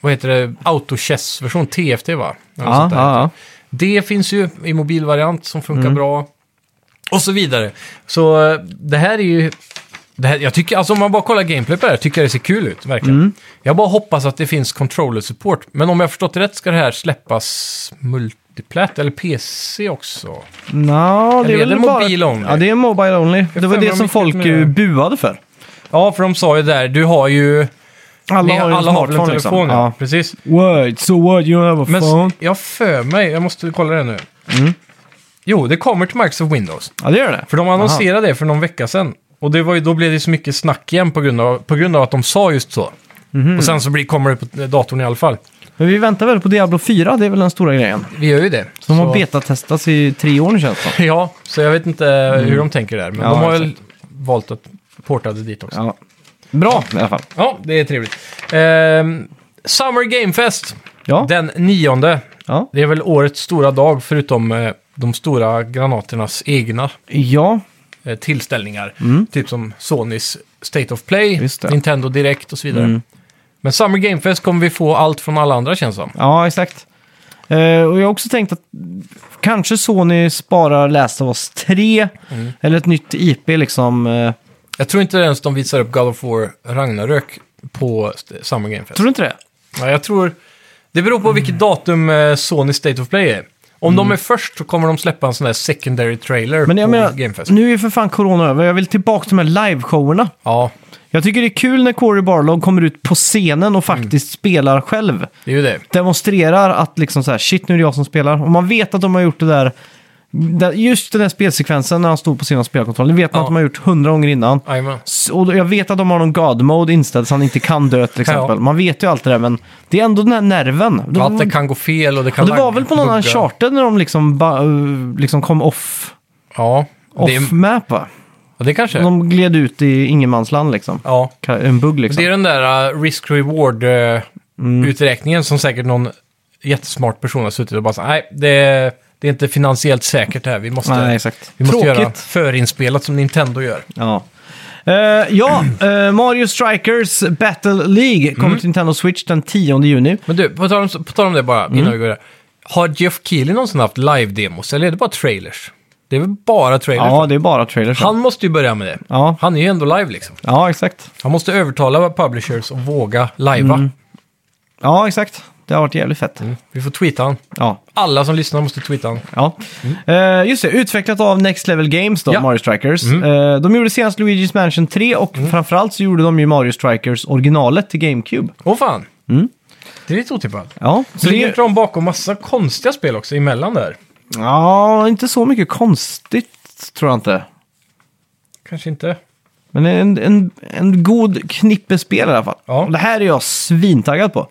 B: vad heter det, Autochess-version, TFT va? Eller något
A: Ja,
B: sånt där. typ.
A: ja, ja.
B: Det finns ju i Mm. mobilvariant som funkar bra. Och så vidare. Så eh, det här är ju Det här, jag tycker, alltså om man bara kollar gameplay på det här, tycker jag det ser kul ut, verkligen. Jag bara hoppas att det finns controller-support. Men om jag har förstått det rätt ska det här släppas multiplat, eller PC också.
A: Nå, det
B: Eller
A: är
B: är
A: väl
B: det
A: bara...
B: mobile only?
A: Ja, det är mobile only.
B: Jag
A: det var
B: undrar
A: det
B: om
A: som
B: vilket
A: folk
B: med-
A: ju buade för.
B: Ja, för de sa ju där, du har ju...
A: Alla har
B: ni-
A: ju en
B: har väl en
A: smartphone liksom.
B: telefon, ja.
A: Ja.
B: Precis.
A: Word, so what, you have a
B: Men s-
A: phone. Mm.
B: jag har för mig, jag måste kolla det nu. Jo, det kommer till Microsoft Windows.
A: Ja, det gör det.
B: För de annonserade det för någon vecka sedan. Och det var ju, då blev det så mycket snack igen på grund av, på grund av att de sa just så.
A: Mhm.
B: Och sen så blir, kommer det på datorn i alla fall.
A: Men vi väntar väl på Diablo 4, det är väl den stora grejen.
B: Vi gör ju det.
A: De
B: Så-
A: har betatestats i tre år nu känns det som.
B: Ja, så jag vet inte hur de tänker där. Men
A: Mm. Ja,
B: de har väl
A: exakt.
B: valt att porta det dit också. Ja,
A: Ja. Bra i alla fall.
B: det är trevligt. Ehm, Summer Game Fest,
A: Ja.
B: den nionde.
A: Ja.
B: Det är väl årets stora dag förutom eh, de stora granaternas egna
A: ja,
B: eh, tillställningar. Typ som Sonys State of Play,
A: Mm. Just det. Mm.
B: Nintendo Direct och så vidare. Men Summer Game Fest kommer vi få allt från alla andra känns som.
A: ja exakt. Eh, och jag har också tänkt att kanske Sony sparar Last of Us 3 eller ett nytt IP liksom. eh,
B: Jag tror inte ens de visar upp God of War Ragnarök på st- Summer Game Fest.
A: tror du inte det?
B: Ja, jag tror... Det beror på vilket datum eh, Sony State of Play är. Om de är först så kommer de släppa en sån där secondary trailer
A: Mm. Men jag
B: på
A: menar,
B: Gamefest.
A: nu är ju för fan corona över. Jag vill tillbaka till de här liveshowerna.
B: Ja,
A: Jag tycker det är kul när Corey Barlog kommer ut på scenen och faktiskt spelar själv.
B: det är ju det.
A: Demonstrerar att liksom så här, shit nu är det jag som spelar. Och man vet att de har gjort det där, där just den där spelsekvensen när han stod på scenen och spelade kontrollen. Det vet man
B: Ja.
A: att de har gjort hundra gånger innan.
B: Jajamän.
A: S- Och jag vet att de har någon God-mode inställd så han inte kan dö till exempel.
B: Ja.
A: Man vet ju allt det där men det är ändå den här nerven.
B: Och Att det kan gå fel och det kan
A: och det var
B: lagga-
A: väl på någon
B: bugga.
A: annan charter när de liksom, ba, eh, liksom kom off,
B: Ja,
A: off
B: det,
A: map va?
B: ja, det kanske.
A: De gled ut i ingenmansland liksom.
B: Ja.
A: Ka- En bugg liksom.
B: Det är den där eh,
A: Mm.
B: risk-reward-uträkningen som säkert någon jättesmart person har suttit och bara sagt nej, det, det är inte finansiellt säkert det här. Vi måste,
A: Nej, exakt.
B: Vi måste
A: Tråkigt.
B: göra förinspelat som Nintendo gör.
A: Ja. Eh, ja, eh, Mario Strikers Battle League kommer till Nintendo Switch den 10 juni.
B: Men du, på tal om, på tal om det bara,
A: Mm.
B: innan vi går där. Har Jeff Keely någonsin haft live-demos eller är det bara trailers? Det är väl bara trailers?
A: Ja, det är bara trailers.
B: Han måste ju börja med det.
A: Ja.
B: Han är ju ändå live liksom.
A: Ja, exakt.
B: Han måste övertala publishers att våga lajva.
A: Mm. Ja, exakt. Det har varit jävligt fett.
B: Vi får tweeta han.
A: Ja.
B: Alla som lyssnar måste tweeta han.
A: Ja. Eh, just det, utvecklat av Next Level Games då,
B: Ja.
A: Mario Strikers. Eh, de gjorde senast Luigi's Mansion 3 och framförallt så gjorde de ju Mario Strikers originalet till GameCube.
B: Åh fan!
A: Mm.
B: Det är lite otippat.
A: Ja,
B: Så
A: så det
B: ligger
A: är,
B: inte de bakom massa konstiga spel också emellan där?
A: ja, inte så mycket konstigt tror jag inte.
B: Kanske inte.
A: Men en, en, en god knippe spel i alla fall.
B: Ja.
A: Och det här är jag svintaggad på.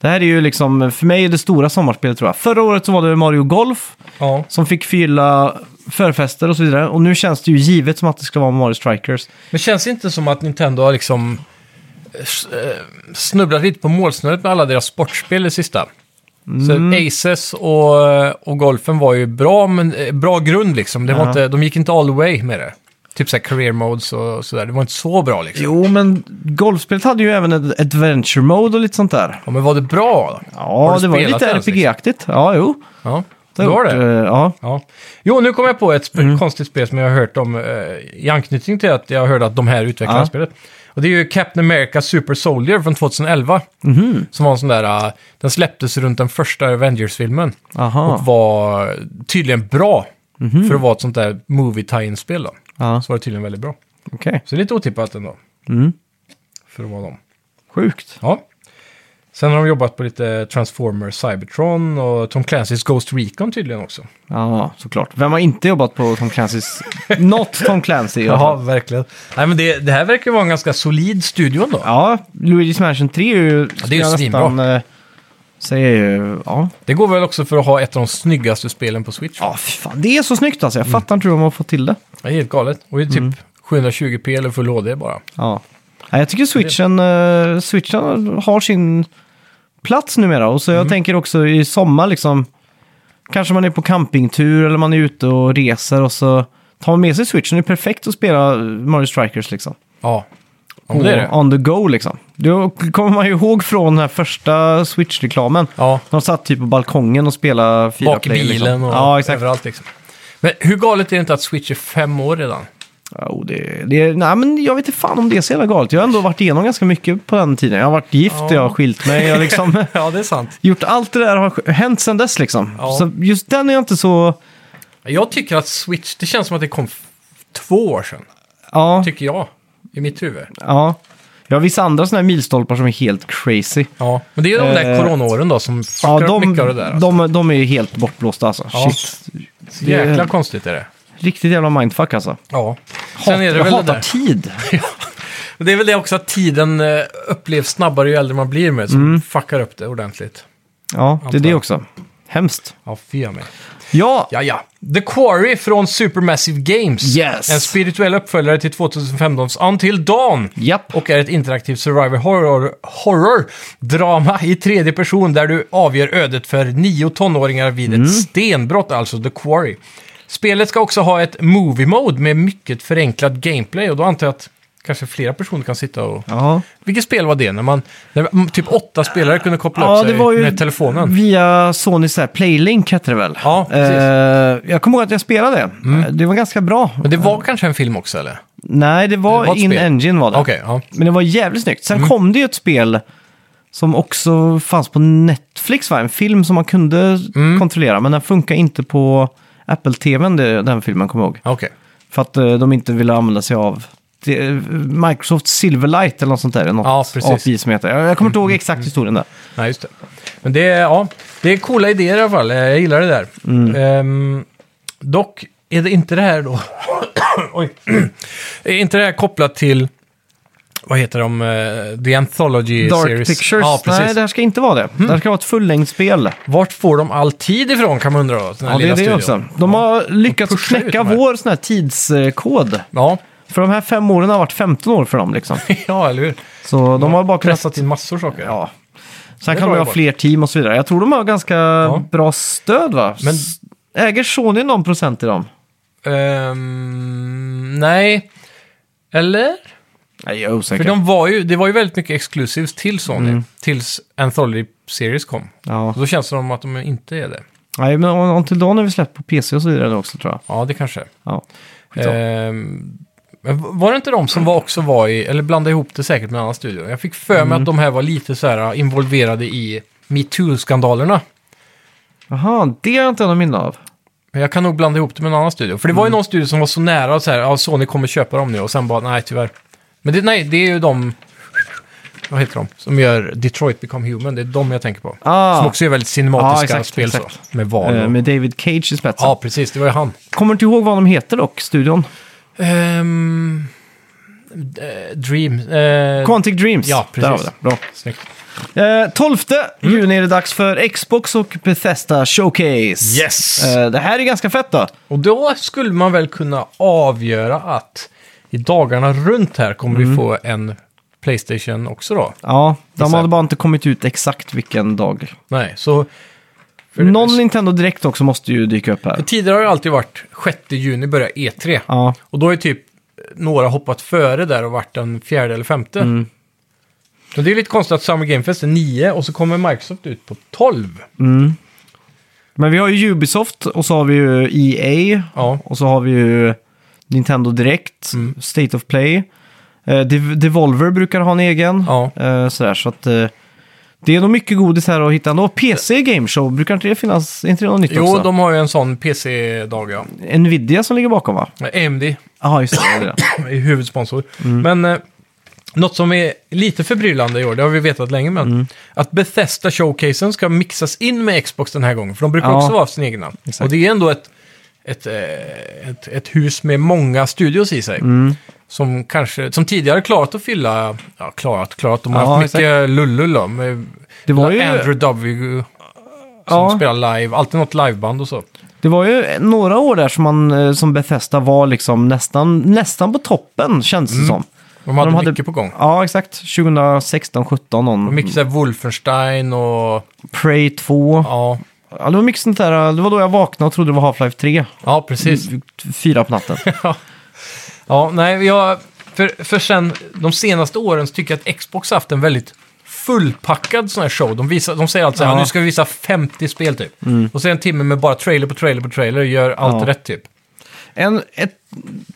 A: Det här är ju liksom, för mig, det stora sommarspelet tror jag. Förra året så var det Mario Golf
B: Ja.
A: som fick fylla förfester och så vidare. Och nu känns det ju givet som att det ska vara Mario Strikers.
B: Men känns det inte som att Nintendo har liksom eh, s- eh, snubblat lite på målsnöret med alla deras sportspel det sista?
A: Mm.
B: Så Aces och, eh, och golfen var ju bra, men eh, bra grund liksom. Det var
A: Ja.
B: inte, de gick inte all the way med det. Typ såhär career modes och sådär. Det var inte så bra liksom.
A: Jo, men golfspelet hade ju även ett adventure mode och lite sånt där.
B: Ja, men var det bra? då? Har
A: Ja,
B: du
A: det var ju
B: spelat
A: lite
B: det ens,
A: RPG-aktigt. Ja, jo.
B: Ja,
A: har
B: det var
A: gjort,
B: det.
A: eh, Ja.
B: Ja. Jo, nu kom jag på ett sp-
A: Mm.
B: konstigt spel som jag har hört om eh, i anknytning till att jag hörde att de här utvecklar
A: Ja.
B: spelet. Och det är ju Captain America Super Soldier från 2011.
A: Mhm.
B: Som var en sån där, eh, den släpptes runt den första Avengers-filmen. Och
A: Aha.
B: var tydligen bra för att vara ett sånt där movie tie-in-spel då.
A: Mhm. Ja,
B: Så var det tydligen väldigt bra.
A: okej.
B: Så det är lite otippat ändå.
A: Mm.
B: För att vara dem.
A: Sjukt.
B: Ja. Sen har de jobbat på lite Transformers Cybertron och Tom Clancys Ghost Recon tydligen också.
A: Ja, såklart. Vem har inte jobbat på Tom Clancys... Något Tom Clancy. i alla
B: Ja,
A: fall.
B: verkligen. Nej, men det, det här verkar ju vara en ganska solid studio ändå.
A: Ja, Luigi's Mansion 3 är ju...
B: det är ju
A: skulle jag
B: svinbra.
A: nästan, eh, Säger ju... Ja.
B: Det går väl också för att ha ett av de snyggaste spelen på Switch.
A: ja, fy fan. Det är så snyggt alltså. Jag
B: Mm.
A: fattar inte hur de har fått till det.
B: Det är helt galet. Och det är typ
A: Mm.
B: 720p eller full HD bara.
A: Ja. Nej, jag tycker switchen, eh, switchen har sin plats numera. Och så
B: Mm.
A: jag tänker också i sommar liksom. Kanske man är på campingtur eller man är ute och reser och så tar man med sig switchen. Det är perfekt att spela Mario Strikers liksom.
B: Ja, ja men det är det.
A: On the go liksom. Då kommer man ju ihåg från den här första Switch-reklamen.
B: Ja,
A: De satt typ på balkongen och spelade fyra
B: bak i
A: player,
B: bilen
A: liksom.
B: och
A: Ja, exakt.
B: överallt liksom. Men hur galet är det inte att Switch är fem år redan?
A: Jo, det, det, nej, men jag vet inte fan om det är så jävla galet. Jag har ändå varit igenom ganska mycket på den tiden. Jag har varit gift,
B: Ja.
A: jag har skilt mig, jag har liksom
B: Ja, det är sant.
A: gjort allt det där har hänt sedan dess liksom.
B: Ja.
A: Så just den är jag inte så...
B: Jag tycker att Switch, det känns som att det kom f- två år sedan.
A: Ja,
B: Tycker jag. I mitt huvud.
A: ja. Jag har vissa andra sådana här milstolpar som är helt crazy.
B: Ja, men det är de där
A: Eh,
B: coronaåren då som
A: Ja,
B: fuckar upp
A: de,
B: mycket av det där. Alltså.
A: de, de är ju helt bortblåsta alltså.
B: Ja.
A: Shit. det är-
B: Jäkla konstigt är det.
A: Riktigt jävla mindfuck alltså.
B: Ja.
A: Hat,
B: Sen är det
A: jag
B: väl det
A: hatar
B: där.
A: tid.
B: Men Det är väl det också att tiden eh, upplevs snabbare ju äldre man blir med som
A: Mm.
B: fuckar upp det ordentligt.
A: Ja, det är det
B: Antar.
A: också. Hemskt.
B: Ja, fy av mig.
A: Ja,
B: Ja, ja. The Quarry från Supermassive Games.
A: Yes.
B: En spirituell uppföljare till 2015s Until Dawn.
A: Japp.
B: Och är ett interaktivt survival horror, horror drama i tredje person där du avgör ödet för nio tonåringar vid
A: Mm.
B: ett stenbrott, alltså The Quarry. Spelet ska också ha ett movie mode med mycket förenklad gameplay och då antar jag att kanske flera personer kan sitta och...
A: Ja.
B: Vilket spel var det? När man... När mm, typ åtta spelare kunde koppla
A: Ja,
B: upp
A: det
B: sig
A: var ju
B: med telefonen.
A: via Sonys så här Playlink hette det väl?
B: Ja, precis. Mm.
A: Eh, jag kommer ihåg att jag spelade det. Eh, Det var ganska bra.
B: Men det var kanske en film också, eller?
A: Nej, det var,
B: Det var ett
A: In
B: spel.
A: Engine var det.
B: Okej, Mm. ja.
A: Men det var jävligt snyggt. Sen kom det ju ett spel som också fanns på Netflix, va? En film som man kunde
B: Mm.
A: kontrollera, men den funkar inte på Apple TVn, det- den filmen kommer jag ihåg.
B: Okej.
A: För att eh, de inte ville använda sig av det, eh, Microsoft Silverlight eller något sånt där. Något
B: Ja, precis. Mm.
A: API som heter. Jag, jag kommer inte ihåg exakt historien där.
B: Nej, just det. Men det är, ja, det är coola idéer i alla fall. Eh, Jag gillar det där.
A: Mm.
B: Ehm, dock är det inte det här då... Oj. är inte det här kopplat till... Vad heter de? eh, The Anthology
A: Dark
B: Series?
A: Pictures.
B: Ja, precis. Mm.
A: Nej, det här ska inte vara det. Det här ska vara ett fullängdsspel.
B: Vart får de all tid ifrån kan man undra då? Den här
A: Ja, det
B: lilla
A: är det
B: studion.
A: också. De har lyckats
B: pushar ut
A: knäcka
B: de här.
A: vår sån här tidskod.
B: Ja.
A: För de här fem åren har varit 15 år för dem liksom.
B: ja, eller hur?
A: Så de har bara kunnat...
B: Pressat in massor saker.
A: Ja. Sen
B: Det
A: kan
B: var
A: de
B: ju
A: ha
B: bra.
A: fler team och så vidare. Jag tror de har ganska bra stöd va?
B: Men-
A: S- Äger Sony någon procent i dem?
B: Ehm, nej. Eller?
A: Nej, jag är
B: För
A: osäker.
B: de var ju, det var ju väldigt mycket exclusives till Sony. Tills Anthology Series kom.
A: Ja.
B: Och då känns det som att de inte är det.
A: Nej, men Until Dawn är vi släppt på PC och så vidare nu också tror jag.
B: Ja, det kanske är.
A: Ja. Skitsamma.
B: Ehm, men var det inte de som var också var i, eller blandade ihop det säkert med en annan studio? Jag fick för mig att de här var lite så här involverade i metoo-skandalerna.
A: Jaha, det har jag inte någon minne av.
B: Men jag kan nog blanda ihop det med en annan studio. För det var
A: Mm.
B: ju någon studio som var så nära och så här, ja, Sony kommer köpa dem nu och sen bara, nej tyvärr. Men det, nej, det är ju de, vad heter de, som gör Detroit Become Human. Det är de jag tänker på.
A: Ah.
B: Som också är väldigt cinematiska
A: Ja, exakt,
B: spel
A: exakt.
B: Så, med val.
A: Eh,
B: och-
A: Med David Cage i spetsen.
B: Ja, Eh, precis. Det var ju han.
A: Kommer inte ihåg vad de heter dock, studion.
B: Ehm, eh, Dream. eh,
A: Quantic Dreams.
B: ja,
A: Där har vi
B: precis. Mm.
A: det. Bra.
B: Snyggt.
A: Eh, 12 juni är det dags för Xbox och Bethesda Showcase.
B: Yes!
A: Eh, det här är ganska fett då.
B: Och då skulle man väl kunna avgöra att i dagarna runt här kommer
A: Mm.
B: vi få en Playstation också då.
A: Ja, de
B: Exakt.
A: hade bara inte kommit ut exakt vilken dag.
B: Nej, så... för-
A: Någon Nintendo Direkt också måste ju dyka upp
B: för
A: här.
B: tidigare har det alltid varit 6 juni börjar E3.
A: Ja,
B: Och då är typ några hoppat före där och varit den fjärde eller femte. Men det är lite konstigt att Summer Game Fest är 9 och så kommer Microsoft ut på 12.
A: mm. men vi har ju Ubisoft och så har vi ju E EA
B: Ja,
A: och så har vi ju Nintendo Direkt,
B: Mm.
A: State of Play. Eh, Dev- Devolver brukar ha en egen.
B: Ja.
A: Eh, sådär, så att, eh, det är nog mycket godis här att hitta. Och PC Game Show, brukar inte det finnas? Är inte det något nytt
B: jo
A: också?
B: de har ju en sån PC-dag ja.
A: Nvidia som ligger bakom va?
B: AMD
A: Ja, just det, det. är det.
B: är huvudsponsor.
A: Mm.
B: Men eh, något som är lite förbryllande i år, det har vi vetat länge, men
A: Mm.
B: att Bethesda showcasen ska mixas in med Xbox den här gången, för de brukar
A: Ja.
B: också vara sina egna. Och det är ändå ett, ett, eh, ett, ett hus med många studios i sig.
A: Mm.
B: Som, kanske, som tidigare klarat att fylla, ja klarat, klarat, de har
A: Ja,
B: haft mycket lullull då, med
A: Det var ju-
B: Andrew W. Som
A: Ja.
B: spelar live, alltid något liveband och så.
A: Det var ju några år där som, man, eh, som Bethesda var liksom nästan, nästan på toppen, känns det som.
B: Mm. De hade,
A: De hade-
B: mycket på gång.
A: Ja, exakt. 2016, 17
B: Och
A: någon.
B: mycket så här Wolfenstein och...
A: Prey 2. Ja.
B: Ja,
A: det var mycket sånt där. Det var då jag vaknade och trodde det var Half-Life 3.
B: ja precis.
A: Mm. Fyra på natten.
B: Ja, nej, jag, för, för sen de senaste åren så tycker jag att Xbox har haft en väldigt fullpackad sån här show. De, visar, de säger alltid så här,
A: Ja. Mm.
B: nu ska vi visa 50 spel typ. Och så är det en timme med bara trailer på trailer på trailer och gör allt
A: Ja.
B: rätt typ.
A: En, ett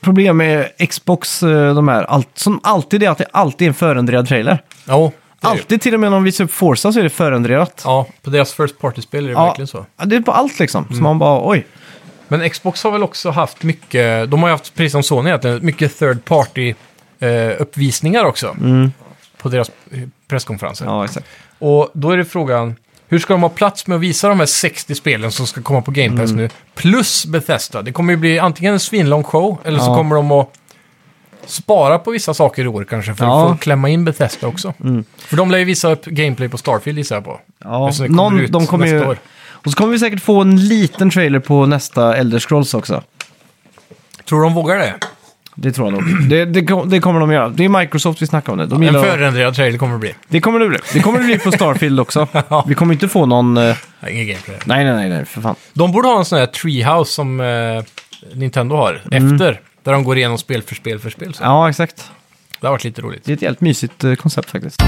A: problem med Xbox, eh, de här, allt, som alltid är att det alltid är en förändrad trailer.
B: Ja, det är det ju.
A: Alltid, till och med när de visar upp Forza så är det förändrat.
B: Ja, på deras First Party-spel är det verkligen så. Mm.
A: ja, det är på allt liksom. Så man bara, oj.
B: Men Xbox har väl också haft mycket, de har ju haft, precis som Sony egentligen, mycket third party-uppvisningar också.
A: Mm.
B: På deras eh, presskonferenser.
A: Ja, exakt.
B: Och då är det frågan, hur ska de ha plats med att visa de här 60 spelen som ska komma på Game Pass
A: Mm.
B: nu? Plus Bethesda. Det kommer ju bli antingen en svinlång show, eller så
A: Ja.
B: kommer de att spara på vissa saker i år kanske, för
A: Ja. Mm.
B: att få klämma in Bethesda också. För de lär ju visa upp gameplay på Starfield gissar jag på.
A: Ja,
B: Eftersom det kommer
A: någon,
B: ut
A: de kommer
B: nästa
A: ju,
B: år.
A: och så kommer vi säkert få en liten trailer på nästa Elder Scrolls också.
B: Tror de vågar det?
A: Det tror jag nog. Det, det, kom- det kommer de göra. Det är Microsoft vi snackar om nu. De
B: En
A: gillar,
B: förändrad trailer kommer det bli.
A: Det kommer det bli. Det kommer det bli på Starfield också.
B: Ja.
A: Vi kommer inte få någon... eh,
B: Nej, Ingen gameplay.
A: Nej, nej, nej, nej, för fan.
B: De borde ha en sån här treehouse som eh, Nintendo har efter. Där de går igenom spel för spel för spel. Så.
A: Mm. Ja, exakt.
B: Det har varit lite roligt.
A: Det är ett helt mysigt eh, koncept faktiskt.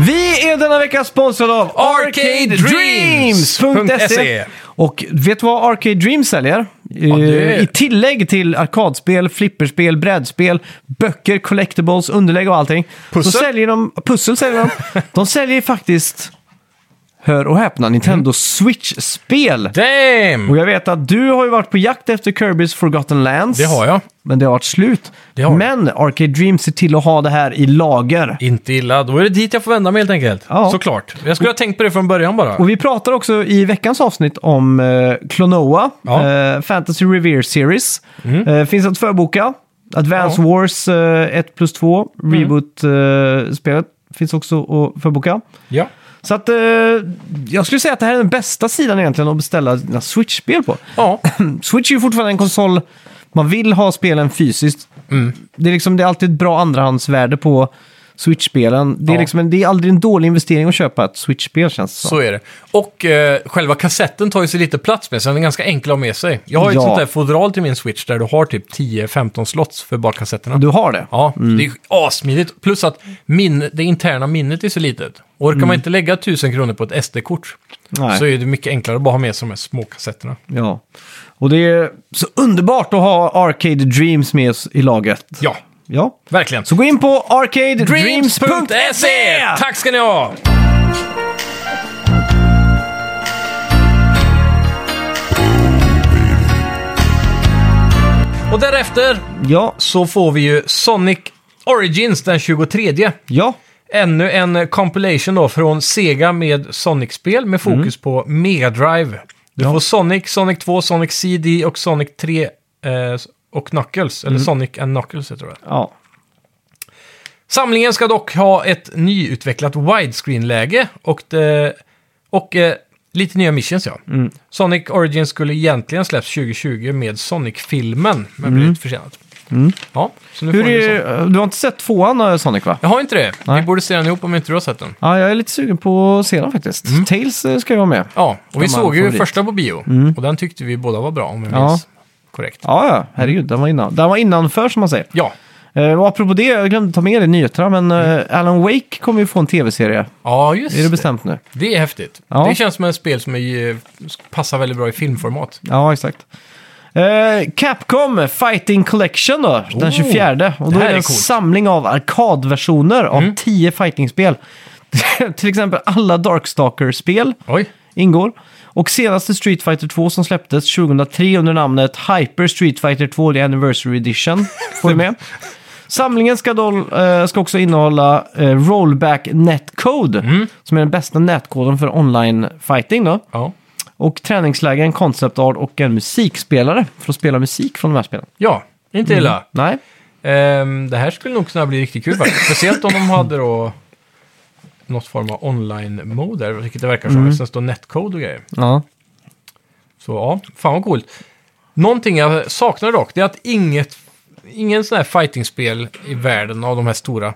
A: Vi är denna vecka sponsrade av
B: E.
A: arcadedreams.se. E. Och vet du vad Arcade Dreams säljer?
B: det-
A: Eh, I tillägg till arkadspel, flipperspel, brädspel, böcker, collectibles, underlägg och allting.
B: Pussel?
A: Så säljer de, pussel säljer de. De säljer faktiskt, hör och häpna, Nintendo
B: Mm.
A: Switch-spel.
B: Damn!
A: Och jag vet att du har ju varit på jakt efter Kirby's Forgotten Lands.
B: Det har jag.
A: Men det har varit slut.
B: Det har jag.
A: Men Arcade Dreams ser till att ha det här i lager.
B: Inte illa. Då är det dit jag får vända mig helt enkelt.
A: Ja.
B: Såklart. Jag skulle ha tänkt på det från början bara.
A: Och vi pratar också i veckans avsnitt om eh, Klonoa,
B: Ja. Mm.
A: eh, Fantasy Revere Series. Eh, finns att förboka. Advance Wars eh, 1 plus 2,
B: Mm.
A: Reboot-spelet, finns också att förboka.
B: Ja.
A: Så att eh, jag skulle säga att det här är den bästa sidan egentligen att beställa dina Switch-spel på.
B: Ja.
A: Hmm. Switch är ju fortfarande en konsol man vill ha spelen fysiskt.
B: Mm.
A: Det, är liksom, det är alltid ett bra andrahandsvärde på Switch-spelen. Det, är
B: Ja.
A: liksom en, det är aldrig en dålig investering att köpa ett Switch-spel känns det som.
B: Så är det. Och eh, själva kassetten tar ju sig lite plats med, så den är ganska enkel att ha med sig. Jag har ju
A: Ja.
B: ett sånt där fodral till min Switch där du har typ 10-15 slots för bara kassetterna.
A: Du Mm. har det?
B: Ja, det är ju assmidigt. Plus att min, det interna minnet är så litet. Orkar man inte lägga 1000 kronor på ett SD-kort
A: Mm. Nej.
B: så är det mycket enklare att bara ha med sig de här små kassetterna.
A: Ja. Och det är så underbart att ha Arcade Dreams med oss i laget.
B: Ja,
A: Ja.
B: verkligen.
A: Så gå in på arcadedreams.se!
B: E. Tack ska ni ha! Och därefter
A: Ja,
B: så får vi ju Sonic Origins den 23.
A: ja,
B: Ännu en eh, compilation då från Sega med Sonic-spel med fokus på Mega Drive. Du får Sonic, Sonic 2, Sonic CD och Sonic 3 eh, och Knuckles. Eller Sonic and Knuckles heter det.
A: ja.
B: Samlingen ska dock ha ett nyutvecklat widescreen-läge och, det, och eh, lite nya missions ja.
A: Mm.
B: Sonic Origins skulle egentligen släpps 2020 med Sonic-filmen, men blev lite försenat. Ja, så nu
A: Mm. Hur
B: får ni
A: är,
B: Sonic.
A: du har inte sett tvåan eh, Sonic va?
B: Jag har inte det.
A: Nej.
B: Vi borde se den ihop om inte du har sett den.
A: Ja, jag är lite sugen på att se den faktiskt.
B: Mm.
A: Tails eh, ska ju vara med.
B: Ja, och vi
A: Gammal
B: såg ju
A: favorit. Mm.
B: första på bio. Och den tyckte vi båda var bra, om jag
A: Ja.
B: minns korrekt.
A: Ja, ja, herregud. Den var, innan. den var innanför som man säger.
B: Ja,
A: Eh, och apropå det, jag glömde ta med det i nyheterna, men
B: Mm.
A: eh, Alan Wake kommer ju få en tv-serie.
B: ja just
A: Är det
B: det.
A: bestämt nu?
B: Det är häftigt.
A: Ja.
B: Det känns som ett spel som är, eh, passar väldigt bra i filmformat.
A: Ja, exakt. Eh, Capcom Fighting Collection då, den 24. Och
B: Oh. det
A: då
B: här
A: är det
B: är
A: en
B: coolt. Mm.
A: samling av arkadversioner av 10 fightingspel. Till exempel alla Darkstalker-spel
B: Oj.
A: ingår. Och senaste Street Fighter 2 som släpptes 2003 under namnet Hyper Street Fighter 2 The Anniversary Edition får vi med. Samlingen ska, då, eh, ska också innehålla eh, Rollback Netcode, som är den bästa nätkoden för online fighting. Då.
B: Ja.
A: Och träningslägen, concept art och en musikspelare för att spela musik från de här spelen.
B: ja,
A: Mm.
B: inte illa.
A: Nej,
B: Ehm, det här skulle nog kunna bli riktigt kul faktiskt. Speciellt om de hade då något form av online-mode där, vilket det verkar som. Mm. Sen står netcode och grejer.
A: ja.
B: Så ja, fan vad coolt. Någonting jag saknar dock, det är att inget, ingen sån här fightingspel i världen av de här stora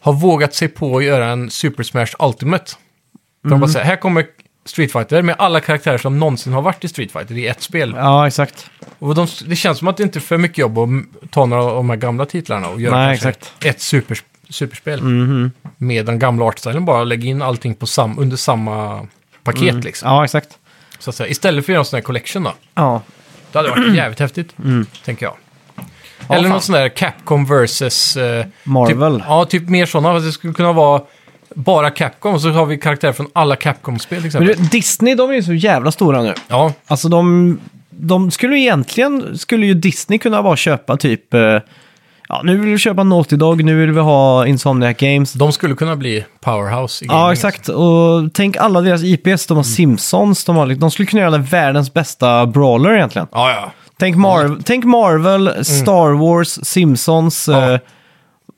B: har vågat sig på att göra en Super Smash Ultimate. För De bara säger, här kommer Street Fighter med alla karaktärer som någonsin har varit i Street Fighter i ett spel.
A: ja exakt.
B: Och de, det känns som att det inte är för mycket jobb att m- ta några av de här gamla titlarna och göra
A: Nej,
B: kanske
A: exakt. Mhm.
B: ett super superspel. Med den gamla artstylen bara lägga in allting på sam, under samma paket liksom.
A: Mm, Ja, exakt.
B: Så att säga. Istället för att göra en sån här collection då.
A: Ja,
B: Det hade varit jävligt häftigt, tänker jag.
A: Mm. Ja,
B: Eller
A: fan.
B: någon sån där Capcom versus... eh,
A: Marvel.
B: Typ, ja, typ mer sådana. Fast Det skulle kunna vara bara Capcom och så har vi karaktärer från alla Capcom-spel till
A: Men
B: exempel.
A: du, Disney, de är ju så jävla stora nu.
B: Ja,
A: Alltså de, de skulle egentligen, skulle ju Disney kunna bara köpa typ, eh, ja nu vill vi köpa Naughty Dog, nu vill vi ha Insomniac Games.
B: de skulle kunna bli powerhouse i gaming,
A: Ja, exakt. Och tänk alla deras IPS,
B: Mm.
A: de har Simpsons, de, har, liksom- de skulle kunna göra världens bästa brawler egentligen.
B: Alltså. Ja, ja. Mm.
A: Tänk, Mar- tänk Marvel, Star Wars, Simpsons,
B: Ja.
A: eh,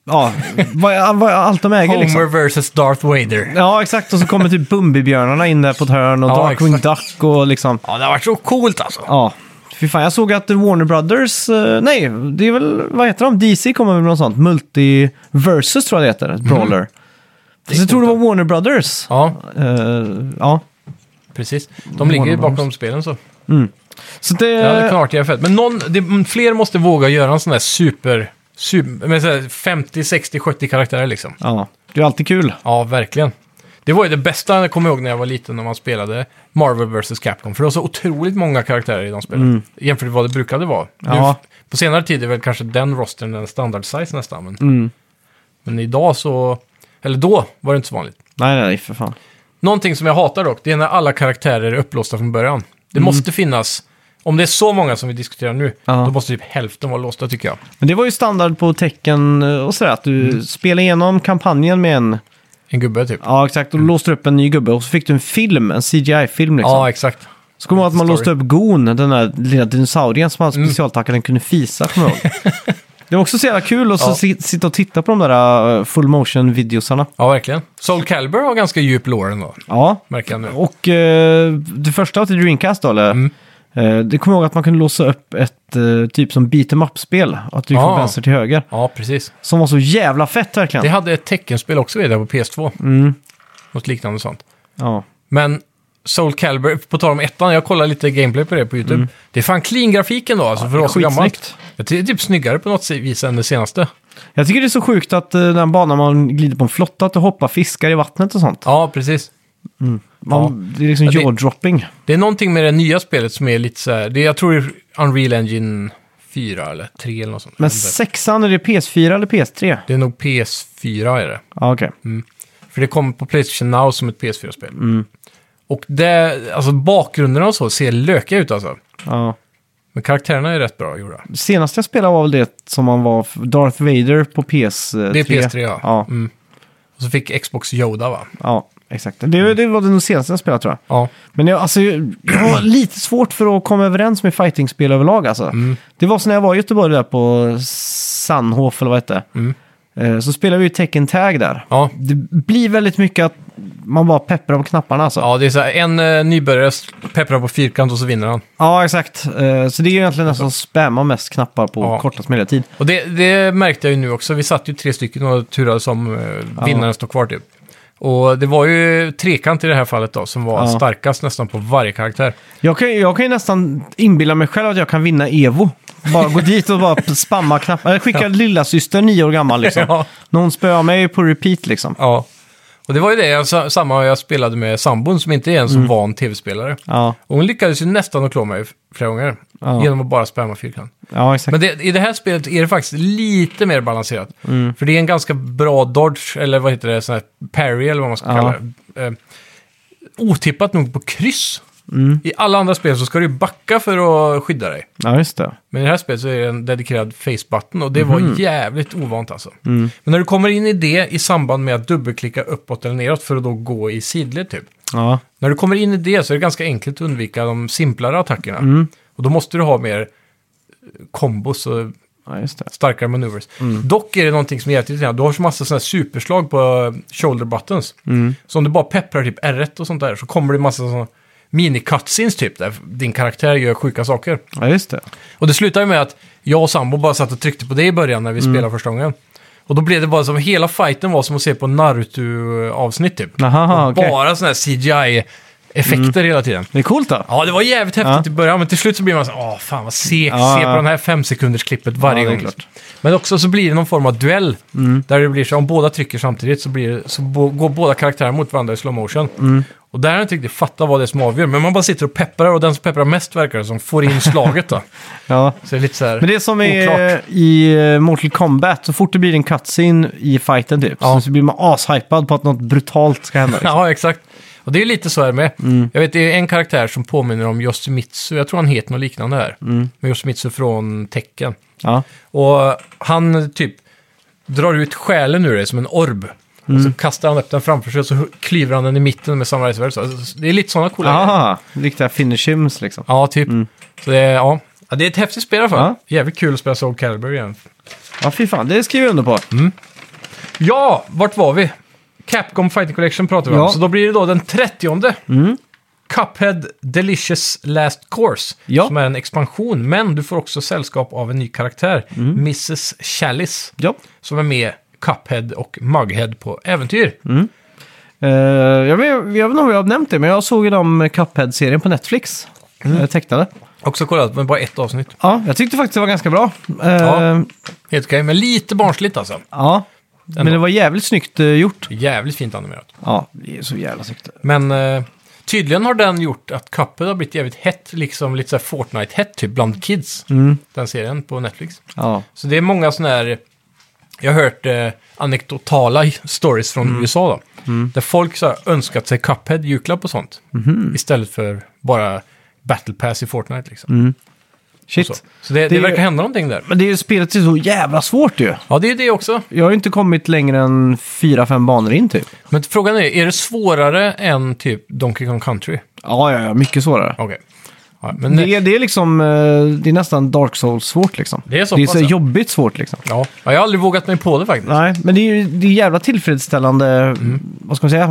A: ja, vad, vad, allt de äger
B: Homer
A: liksom.
B: versus Darth Vader.
A: Ja, exakt. Och så kommer typ Bumbibjörnarna in där på ett hörn och
B: Ja,
A: Darkwing
B: exakt.
A: Duck och liksom...
B: Ja, det har varit så coolt alltså.
A: Ja. Fy fan, jag såg att Warner Brothers... eh, nej, det är väl... Vad heter de? DC kommer med något sånt. Multiversus tror jag det heter. Ett brawler. Fast jag tror det var Warner Brothers.
B: Ja,
A: Eh, ja.
B: precis. De ligger ju bakom spelen så.
A: Så det...
B: Det hade kunnat vara fett. Men någon, det, mm, fler måste våga göra en sån där super... super med så här 50, 60, 70 karaktärer liksom.
A: ja. Det är ju alltid kul.
B: Ja, verkligen. Det var ju det bästa jag kommer ihåg när jag var liten när man spelade Marvel vs. Capcom. För det var så otroligt många karaktärer i de spelen. Jämfört med vad det brukade vara.
A: Mm. Ja.
B: Nu, på senare tid är väl kanske den rosten en standard size nästan. Men,
A: Mm.
B: men idag så... Eller då var det inte så vanligt.
A: Nej, nej, för fan.
B: Någonting som jag hatar dock, det är när alla karaktärer är upplåsta från början. Det måste finnas... Om det är så många som vi diskuterar nu,
A: Mm. Ja.
B: då måste typ hälften vara låsta tycker jag.
A: Men det var ju standard på tecken eh, och sådär. Att du spelade igenom kampanjen med en...
B: En gubbe typ.
A: Ja, exakt. Och låste upp en ny gubbe. Och så fick du en film. En CGI-film liksom.
B: Ja, exakt.
A: Så kommer jag ihåg att man
B: Story. Mm.
A: låste upp Gon, den där lilla dinosaurien som hade specialtackar, den kunde fisa, kommer jag ihåg. Det var också så jävla kul att så
B: Ja.
A: si- sitta och titta på de där eh, full motion-videosarna.
B: Ja, verkligen. Soul Calibur har ganska djup lore ändå,
A: Ja,
B: märker jag nu.
A: och eh, det första till Dreamcast då, eller?
B: Mm.
A: Eh, det kommer jag ihåg att man kunde låsa upp ett eh, typ som beat em up-spel. Att du gick
B: Ah.
A: från vänster till höger.
B: Ja, precis.
A: Som var så jävla fett verkligen.
B: Det hade ett teckenspel också i där på PS2.
A: Mm.
B: Något liknande sånt.
A: Ja.
B: Men Soul Calibur, på tal om ettan, jag kollade lite gameplay på det på YouTube. Det är fan clean grafiken då, alltså för
A: det är
B: oss så gammalt.
A: Mm. skitsnyggt.
B: Jag tycker det är typ snyggare på något vis än det senaste.
A: Jag tycker det är så sjukt att eh, den banan man glider på en flotta, att det hoppar fiskar i vattnet och sånt.
B: Ja, precis.
A: Man, Det är liksom
B: Ja, det-
A: jaw-dropping.
B: Det är någonting med det nya spelet som är lite så här, det, jag tror det är Unreal Engine 4 eller 3 eller något sånt.
A: Men sexan, är det PS4 eller PS3?
B: Det är nog PS4 är det.
A: Ja, okej.
B: Mm. För det kommer på Playstation Now som ett PS4-spel. Och det, alltså bakgrunderna och så ser lökiga ut alltså.
A: Ja.
B: Men karaktärerna är rätt bra gjorda.
A: Senast jag spelade var väl det som man var Darth Vader på PS3.
B: Det är PS3 ja.
A: Ja,
B: Mm. Och så fick Xbox Yoda va?
A: ja exakt. Det, det var det senaste jag spelade tror jag.
B: Ja.
A: Men jag, alltså, jag
B: Mm.
A: har lite svårt för att komma överens med fightingspel överlag. Alltså.
B: Mm.
A: Det var så när jag var i Göteborg där på Sandhof eller vad det hette.
B: Mm.
A: Eh, Så spelade vi ju Tekken Tag där.
B: Ja.
A: Det blir väldigt mycket att man bara pepprar på knapparna alltså.
B: ja, det är så här, en eh, nybörjare pepprar på fyrkant och så vinner han.
A: Ja, exakt. Eh, Så det är ju egentligen den som spammar mest knappar på
B: Alltså. Ja.
A: kortast möjliga tid.
B: Och det, det märkte jag ju nu också. Vi satt ju tre stycken och turades om eh, vinnaren står kvar typ. Och det var ju trekant i det här fallet då som var
A: Ja.
B: starkast nästan på varje karaktär.
A: Jag kan, ju- jag kan ju nästan inbilla mig själv att jag kan vinna Evo. Bara gå dit och bara p- spamma knappar. Eller skicka lilla syster nio år gammal liksom.
B: Ja.
A: När hon spöar mig på repeat liksom.
B: Ja. Och det var ju det jag, sa- samma jag spelade med sambon som inte är en så van tv-spelare.
A: Mm. Ja,
B: Och hon lyckades ju nästan att klå mig f- flera gånger
A: Ja.
B: genom att bara spamma fyrkant.
A: ja exakt.
B: Men det, i det här spelet är det faktiskt lite mer balanserat.
A: Mm.
B: För det är en ganska bra dodge, eller vad heter det, sån här parry eller vad man ska
A: Ja.
B: kalla det. Eh, otippat nog på kryss.
A: Mm.
B: I alla andra spel så ska du ju backa för att skydda dig.
A: Ja, just det.
B: Men i det här spelet så är det en dedikerad face-button och det
A: Mhm.
B: var jävligt ovant alltså.
A: Mm.
B: Men när du kommer in i det i samband med att dubbelklicka uppåt eller neråt för att då gå i sidled typ.
A: Ja,
B: När du kommer in i det så är det ganska enkelt att undvika de simplare attackerna.
A: Mm.
B: Och då måste du ha mer eh, kombos och
A: ja just det.
B: starkare maneuvers.
A: Mm.
B: Dock är det någonting som är jävligt irriterande. Du har så massa sådana här superslag på eh, shoulder buttons.
A: Mm.
B: Så om du bara pepprar typ R1 och sånt där så kommer det massa sådana mini-cutscenes typ där din karaktär gör sjuka saker.
A: Ja, just det.
B: Och det slutade ju med att jag och sambo bara satt och tryckte på det i början när vi
A: Mm.
B: spelade första gången. Och då blev det bara som, hela fighten var som att se på Naruto-avsnitt typ.
A: Aha,
B: Och
A: okej. Mm.
B: Bara sådana här CGI-effekter hela tiden.
A: Det är coolt då.
B: Ja, det var jävligt
A: Ja.
B: häftigt i början, men till slut så blir man så här, åh fan vad sek,
A: Ja,
B: se
A: ja.
B: på den här fem sekunders klippet varje
A: Ja, det är
B: gång.
A: klart. Mm.
B: Men också så blir det någon form av duell. Där det blir så, om båda trycker samtidigt så, blir det, så bo, går båda karaktärer mot varandra i slow motion.
A: Mm.
B: Och där har jag inte riktigt fattat vad det är som avgör. Men man bara sitter och pepprar och den som pepprar mest verkar det som får in slaget då.
A: Ja.
B: Så det är lite så här
A: Men det som är
B: oklart.
A: i eh, Mortal Kombat, så fort det blir en cutscene i fighten typ,
B: Ja.
A: så, så blir man ashypad på att något brutalt ska hända.
B: Ja, exakt. Och det är lite så här med.
A: Mm.
B: Jag vet, det är en karaktär som påminner om Yoshimitsu. Jag tror han heter något liknande här. Mm. Yoshimitsu från Tecken.
A: Ja.
B: Och han typ drar ut själen ur dig som en orb. Och
A: Mm.
B: så kastar han upp den framför sig och så klyver han den i mitten med samurajsvärd. Så alltså, Det är lite sådana coola grejer.
A: Aha, riktiga finish hims liksom.
B: Ja, typ. Så det är, ja. ja. Det är ett häftigt spel i alla fall.
A: Ja.
B: Jävligt kul att spela Soul Calibur igen.
A: Ja, fy fan, det skriver jag under på.
B: Mm. Ja, vart var vi? Capcom Fighting Collection pratar vi
A: Ja. Mm.
B: om. Så då blir det då den 30. Cuphead Delicious Last Course.
A: Ja.
B: Som är en expansion, men du får också sällskap av en ny karaktär.
A: Mm.
B: Mrs. Chalice.
A: Ja.
B: Som är med Cuphead och Mughead på äventyr.
A: Eh, jag, vet, jag vet inte om jag har nämnt det, men jag såg ju de Cuphead-serien på Netflix. Mm. Tecknade.
B: Också kollat, men bara ett avsnitt.
A: Ja, jag tyckte faktiskt det var ganska bra. Eh,
B: Ja. Helt okej, men lite barnsligt alltså.
A: ja. Men det var jävligt snyggt eh, gjort.
B: Jävligt fint animerat.
A: Ja, det är så jävla snyggt.
B: Men eh, tydligen har den gjort att Cuphead har blivit jävligt hett, liksom lite så här Fortnite-hett typ bland kids. Den serien på Netflix.
A: Ja.
B: Så det är många sådana här, jag har hört eh, anekdotala stories från USA då. Där folk så här, önskat sig Cuphead julklapp och sånt. Istället för bara Battle Pass i Fortnite liksom.
A: Shit.
B: Så, så det, det,
A: Det är-
B: verkar hända någonting där.
A: Men det är ju spelet är så jävla svårt ju.
B: Ja, det är ju det också.
A: Jag har ju inte kommit längre än fyra, fem banor in typ.
B: Men frågan är, är det svårare än typ Donkey Kong Country?
A: Ja, ja, ja, mycket svårare.
B: Okej. Ja, men
A: Det är, det är liksom, eh, det är nästan Dark Souls-svårt liksom.
B: Det är så
A: det är
B: pass,
A: så
B: ja.
A: jobbigt svårt liksom.
B: Ja, jag har aldrig vågat mig på det faktiskt.
A: Nej, men det är ju det är jävla tillfredsställande,
B: Mm.
A: vad ska man säga,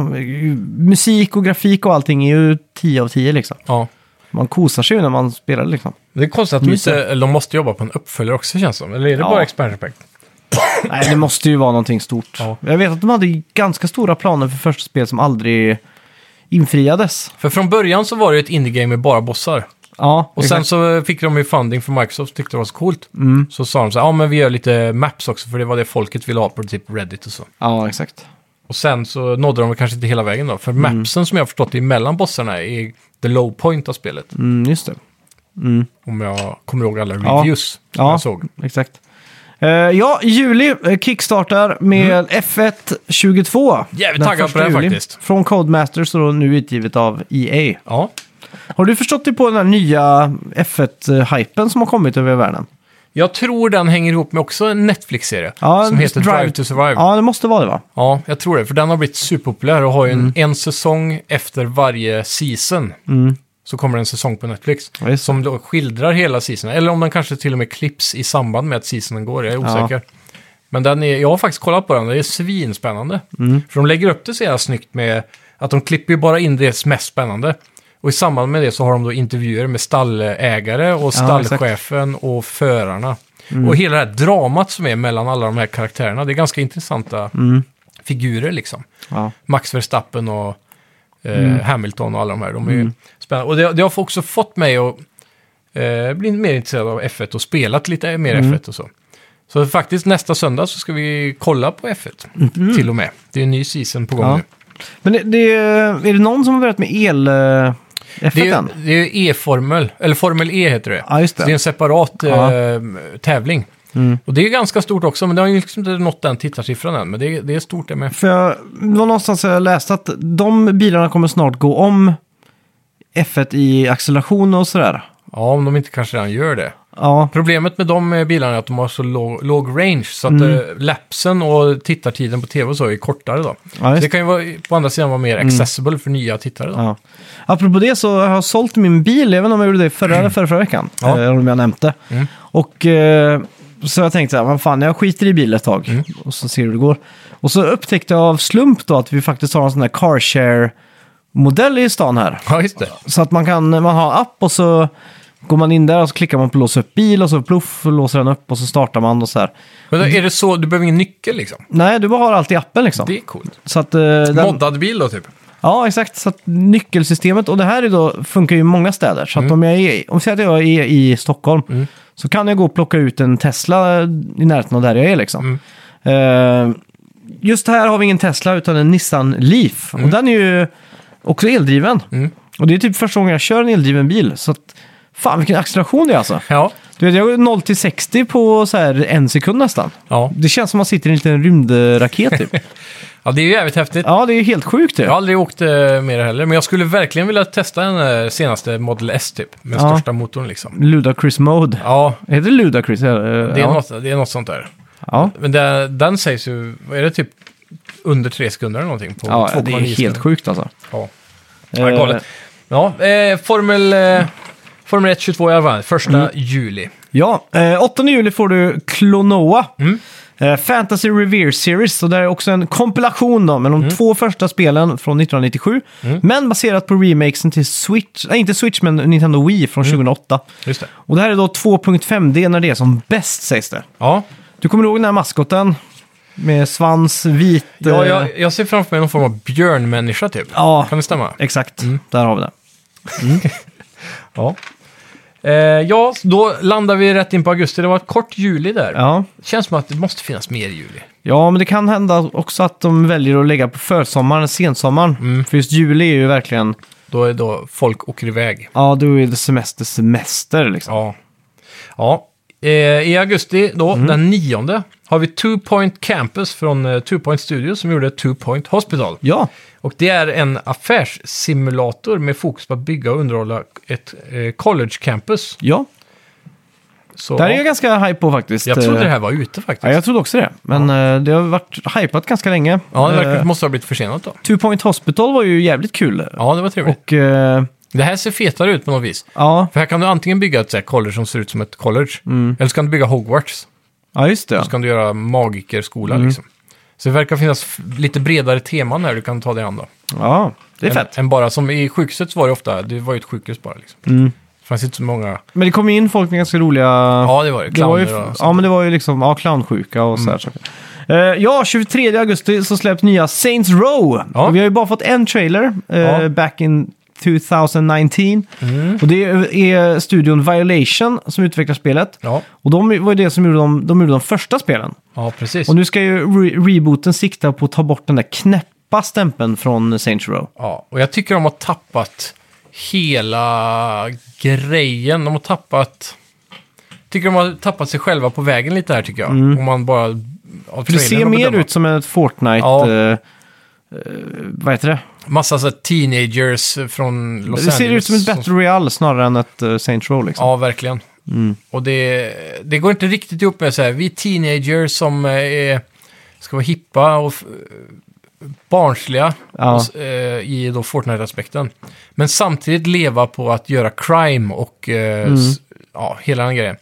A: musik och grafik och allting är ju 10 av 10 liksom.
B: Ja.
A: Man kosar sig ju när man spelar liksom.
B: Det är konstigt att de,
A: Myser.
B: inte, eller de måste jobba på en uppföljare också känns det som. Eller är det
A: Ja.
B: bara expansion pack?
A: Nej, det måste ju vara någonting stort.
B: Ja.
A: Jag vet att de hade ganska stora planer för första spel som aldrig infriades.
B: För från början så var det ju ett indie-game med bara bossar.
A: Ja,
B: Och sen
A: exakt.
B: så fick de ju funding från Microsoft och tyckte det var så coolt. Så sa de så här, ja men vi gör lite maps också för det var det folket ville ha på typ Reddit och så.
A: Ja, exakt.
B: Och sen så nådde de kanske inte hela vägen då. För mapsen som jag har förstått är mellan bossarna är the low point av spelet.
A: Mm, just det.
B: Om jag kommer ihåg alla
A: Ja.
B: reviews som
A: Ja.
B: jag såg.
A: Exakt. Eh, ja, i juli eh, kickstartar med F1 22.
B: Mm. Jävligt
A: Den
B: taggad på
A: första
B: det här
A: juli.
B: faktiskt.
A: Från Codemasters och då nu utgivet av E EA.
B: Ja,
A: Har du förstått dig på den här nya F1-hypen som har kommit över världen?
B: jag tror den hänger ihop med också en Netflix-serie
A: Ja,
B: som heter Drive,
A: Drive-
B: to Survive. Ja.
A: Ja, det måste vara det va?
B: jag tror det. För den har blivit superpopulär och har ju en,
A: Mm.
B: en säsong efter varje season. Så kommer det en säsong på Netflix
A: Mm. Ja, just det.
B: som då skildrar hela seasonen. Eller om den kanske till och med klipps i samband med att seasonen går, jag är
A: Ja.
B: osäker. Men den är, jag har faktiskt kollat på den, det är svinspännande.
A: Mm.
B: För de lägger upp det så jävla snyggt med att de klipper ju bara in det mest spännande. Och i samband med det så har de då intervjuer med stallägare och stallchefen och förarna.
A: Mm.
B: Och hela det här dramat som är mellan alla de här karaktärerna, det är ganska intressanta
A: Mm.
B: figurer liksom.
A: Ja.
B: Max Verstappen och eh,
A: Mm.
B: Hamilton och alla de här. De är ju spännande. Och det, det har också fått mig att eh, bli mer intresserad av F1 och spelat lite mer
A: Mm.
B: F1 och så. Så faktiskt nästa söndag så ska vi kolla på F1 till och med. Det är en ny season på gång
A: Mm. Ja.
B: nu.
A: Men det, det, är det någon som har börjat med el eh,
B: Det
A: F1
B: är,
A: än?
B: det är E-formel, eller Formel E heter det.
A: Ja, just
B: Så det är
A: det.
B: en separat
A: Ja. Mm.
B: eh, tävling. Och det är ganska stort också, men det har ju liksom inte nått den tittarsiffran än. Men det, är- det är stort det med.
A: För jag, det var någonstans jag läste att de bilarna kommer snart gå om F1 i acceleration och sådär.
B: Ja, om de inte kanske redan gör det.
A: Ja,
B: Problemet med de eh, bilarna är att de har så låg, låg range, så att
A: Mm.
B: eh, lapsen och tittartiden på tv och så är kortare då.
A: Ja,
B: så
A: just Mm.
B: det kan ju vara, på andra sidan vara mer accessible för nya tittare då.
A: Ja. Apropå det så har jag sålt min bil, även om jag gjorde det förra eller förra, förra veckan.
B: Ja. Mm.
A: Eh, om jag nämnt det. Och eh, så har jag tänkt så här, vad fan, jag skiter i bil ett tag
B: Mm.
A: och så ser hur det går. Och så upptäckte jag av slump då att vi faktiskt har en sån här car share modell i stan här.
B: Ja, just det.
A: Så att man kan, man har en app och så går man in där och så klickar man på låsa upp bil och så pluff låser den upp och så startar man och så här.
B: Men då är det så, du behöver ingen nyckel liksom?
A: Nej, du bara har allt i appen liksom.
B: Det är coolt.
A: Så att, eh, den,
B: Moddad bil då typ?
A: Ja, exakt. Så att nyckelsystemet, och det här är då, funkar ju i många städer. Så att om jag är, om vi säger att jag är i Stockholm, så kan jag gå och plocka ut en Tesla i närheten av där jag är liksom. Eh, just här har vi ingen Tesla utan en Nissan Leaf. Och den är ju också eldriven.
B: Mm.
A: Och det är typ första gången jag kör en eldriven bil. Så att, fan vilken acceleration det är alltså.
B: Ja.
A: Du vet, jag går 0 till 60 på så här en sekund nästan.
B: Ja.
A: Det känns som man sitter i en liten rymdraket typ.
B: ja, det är ju jävligt häftigt.
A: ja, det är ju helt sjukt typ. det.
B: Jag har aldrig åkt eh, med det heller, men jag skulle verkligen vilja testa den eh, senaste Model S typ. Med
A: Ja.
B: största motorn liksom.
A: Ludacris mode.
B: Ja,
A: Heter det Ludacris? Det
B: det är, Något, det är något sånt där.
A: ja.
B: Men det, den sägs ju, vad är det typ under tre sekunder eller någonting? På
A: ja, det
B: 2,9
A: är helt
B: sekunder.
A: sjukt alltså.
B: Ja. Ja,
A: Eh,
B: galet. Ja, eh, Formel, eh, Formel 1 22 i alla fall, första juli.
A: Ja, eh, 8 juli får du Klonoa.
B: Mm.
A: Eh, Fantasy Revere Series, så det är också en kompilation då, med de
B: Mm.
A: två första spelen från 1997. Men baserat på remakesen till Switch, nej inte Switch men Nintendo Wii
B: Mm.
A: från 2008.
B: Just det.
A: Och det här är då 2.5D när det är som bäst sägs det.
B: Ja,
A: Du kommer ihåg den här maskoten? Med svans, vit...
B: ja
A: eh,
B: jag, jag ser framför mig någon form av björnmänniska typ.
A: ja,
B: Kan Mm. det stämma?
A: exakt. Där har vi det.
B: Ja. Eh, ja, då landar vi rätt in på augusti. Det var ett kort juli där.
A: Ja.
B: Känns som att det måste finnas mer juli.
A: ja, men det kan hända också att de väljer att lägga på försommaren, sensommaren.
B: Mm.
A: För just juli är ju verkligen...
B: Då är då folk åker iväg.
A: Ja, då är det semester, semester liksom.
B: Ja. ja. Eh, I augusti då, den nionde, har vi Two Point Campus från eh, Two Point Studios som gjorde Two Point Hospital.
A: Ja,
B: Och det är en affärssimulator med fokus på att bygga och underhålla ett eh, college campus.
A: ja.
B: Så,
A: det här är
B: ja.
A: jag ganska hype på faktiskt.
B: jag trodde det
A: Eh,
B: här var ute faktiskt.
A: Ja, jag trodde också det. Men eh, det har varit hypat ganska länge.
B: Ja, det verkar,
A: Eh,
B: måste ha blivit försenat då.
A: Two Point Hospital var ju jävligt kul.
B: Ja, det var trevligt.
A: Och eh,
B: Det här ser fetare ut på något vis.
A: ja.
B: För här kan du antingen bygga ett så här college som ser ut som ett college, eller så kan du bygga Hogwarts.
A: Mm. ja, Mm. just det.
B: Så kan du göra magikerskola liksom. Så det verkar finnas f- lite bredare teman här du kan ta dig an då.
A: Ja, det är
B: Än-
A: fett.
B: Än bara som i sjukhuset så var det ofta, det var ju ett sjukhus bara liksom.
A: Mm.
B: Det fanns inte så många.
A: Men det kom ju in folk med ganska roliga...
B: Ja, det var det.
A: Det var ju,
B: Clowner och sånt. Mm.
A: ja, men det var ju liksom ja, clownsjuka och sådär saker. Eh, ja, 23 augusti så släpps nya Saints Row.
B: Ja.
A: Och vi har ju bara fått en trailer, eh,
B: Ja. Mm.
A: back in 2019. Och det är studion Violation som utvecklar spelet.
B: Ja,
A: Och de var ju det som gjorde de, de, gjorde de första spelen.
B: ja precis.
A: Och nu ska ju re- rebooten sikta på att ta bort den där knäppa stämpeln från Saints Row.
B: Ja, och jag tycker de har tappat hela grejen. De har tappat... tycker de har tappat sig själva på vägen lite här tycker jag. Om man bara... Av
A: Mm. För det
B: trailern
A: ser
B: att
A: mer
B: bedöma.
A: ut som ett Fortnite...
B: Ja.
A: eh, eh, vad heter det?
B: Massa så här teenagers från Los Angeles.
A: det ser ut som ett
B: som-
A: Battle Royale snarare än ett uh, Saints Row liksom.
B: Ja, verkligen.
A: Mm.
B: Och det, det går inte riktigt ihop med så här, vi är teenagers som eh, är, ska vara hippa och f- barnsliga
A: Ja.
B: och, s- eh, i då Fortnite-aspekten. Men samtidigt leva på att göra crime och eh,
A: Mm.
B: s- ja, hela den grejen.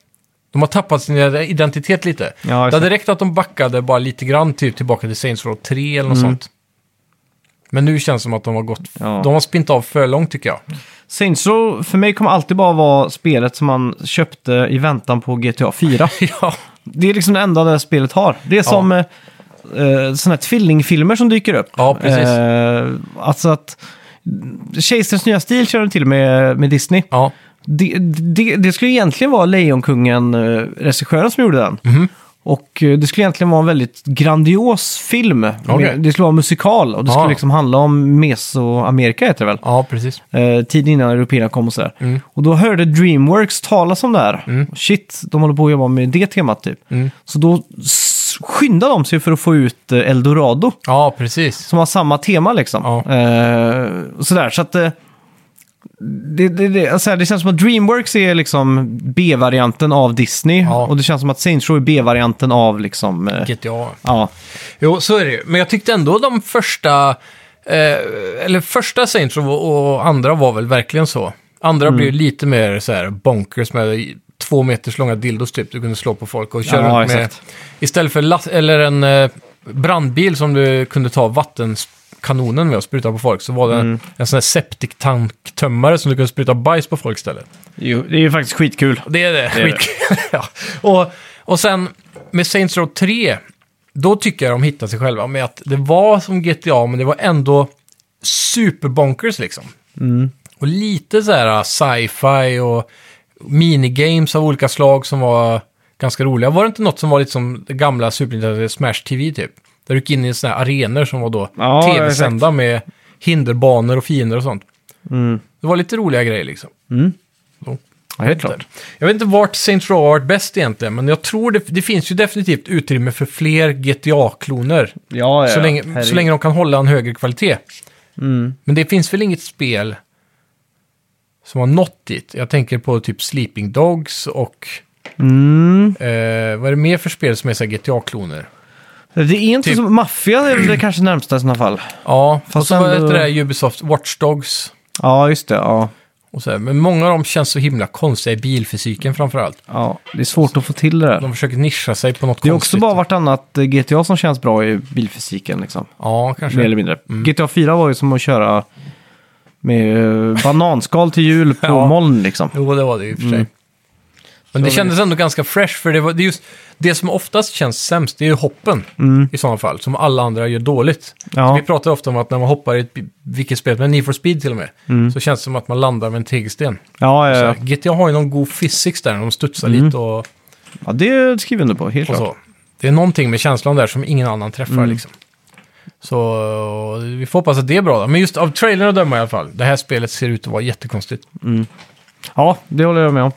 B: De har tappat sin identitet lite.
A: Ja,
B: det
A: exakt.
B: hade räckt att de backade bara lite grann typ tillbaka till Saints Row 3 eller något sånt. Men nu känns det som att de har gått...
A: Mm. Ja.
B: De har spint av för långt tycker jag.
A: Saints Row för mig kommer alltid bara vara spelet som man köpte i väntan på GTA 4.
B: ja.
A: det är liksom det enda det här spelet har. Det är som eh, eh, sådana här tvillingfilmer som dyker upp.
B: Ja, precis.
A: Eh, alltså att... Chaserns nya stil kör de till med, med Disney.
B: ja.
A: Det, det, det skulle egentligen vara Lejonkungen-regissören som gjorde den.
B: Mhm.
A: Och eh, det skulle egentligen vara en väldigt grandios film.
B: Okej.
A: Det skulle vara en musikal och det
B: Ah.
A: skulle liksom handla om Mesoamerika heter det väl?
B: ja, precis.
A: Eh, tiden innan européerna kom och sådär.
B: Mm.
A: Och då hörde Dreamworks talas om det här. Shit, de håller på att jobba med det temat typ.
B: Mm.
A: Så då s- skyndade de sig för att få ut eh, Eldorado.
B: Ja, precis.
A: Som har samma tema liksom.
B: Ja.
A: Eh, och sådär, så att... eh, Det, det, det, alltså, det känns som att Dreamworks är liksom B-varianten av Disney.
B: Ja.
A: Och det känns som att Saints Row är B-varianten av liksom... eh,
B: GTA.
A: ja.
B: Jo, så är det ju. Men jag tyckte ändå de första, eh, eller första Saints Row och, och andra var väl verkligen så. Andra
A: Mm.
B: blev lite mer så här bonkers med i- två meters långa dildos typ. Du kunde slå på folk och köra
A: Ja,
B: runt med.
A: exakt.
B: Istället för last, eller en eh, brandbil som du kunde ta vattenkanonen med och spruta på folk så var det
A: Mm.
B: en, en sån här septiktanktömmare som du kunde spruta bajs på folk istället.
A: Jo, det är ju faktiskt skitkul.
B: Det är det.
A: är det.
B: Skitkul. ja. och, och sen med Saints Row 3, då tycker jag de hittar sig själva med att det var som GTA, men det var ändå
A: Mm.
B: superbonkers liksom. Och lite så här uh, sci-fi och minigames av olika slag som var ganska roliga. Var det inte något som var lite som det gamla Super Nintendo Smash TV typ? Där du gick in i sådana här arenor som var då
A: Ja,
B: tv-sända med hinderbanor och fiender och sånt.
A: Mm.
B: Det var lite roliga grejer liksom.
A: Ja, helt klart.
B: Jag vet inte vart Saints Row har varit bäst egentligen, men jag tror det, det finns ju definitivt utrymme för fler GTA-kloner.
A: Ja, ja,
B: Så,
A: ja.
B: länge, så
A: Herregud.
B: länge de kan hålla en högre kvalitet.
A: Mm.
B: Men det finns väl inget spel som har nått dit. Jag tänker på typ Sleeping Dogs och
A: Mm.
B: eh, vad är det mer för spel som är så här GTA-kloner?
A: Det är inte
B: Typ-
A: som maffia, det är väl det kanske närmsta i sådana fall.
B: Ja,
A: Fast
B: och så var
A: ändå-
B: det där Ubisoft Watch Dogs.
A: Ja, just det. Ja.
B: Och så här. Men många av dem känns så himla konstiga i bilfysiken framförallt.
A: Ja, det är svårt att få till det där.
B: De försöker nischa sig på något
A: Det är också
B: konstigt.
A: bara vartannat eh, GTA som känns bra i bilfysiken liksom.
B: Ja, kanske.
A: Mer eller mindre.
B: Mm.
A: GTA 4 var ju som att köra med eh, bananskal till hjul på
B: Ja.
A: moln liksom.
B: Jo, det var det i och för sig. Men det kändes ändå ganska fresh, för det, var, det är just det som oftast känns sämst, det är ju hoppen i sådana fall, som alla andra gör dåligt.
A: Mm. Ja.
B: Så vi pratar ofta om att när man hoppar i ett, bi- vilket spel, men Need for Speed till och med, så känns det som att man landar med en tegelsten.
A: Ja, Mm. ja,
B: Så
A: ja.
B: här, GTA har ju någon god physics där, när de studsar lite och, och
A: ja det skriver jag under på, helt klart. Mm.
B: så. Det är någonting med känslan där som ingen annan träffar liksom. Så vi får hoppas att det är bra då. Men just av trailern att döma i alla fall, det här spelet ser ut att vara jättekonstigt.
A: Ja, det håller jag med om.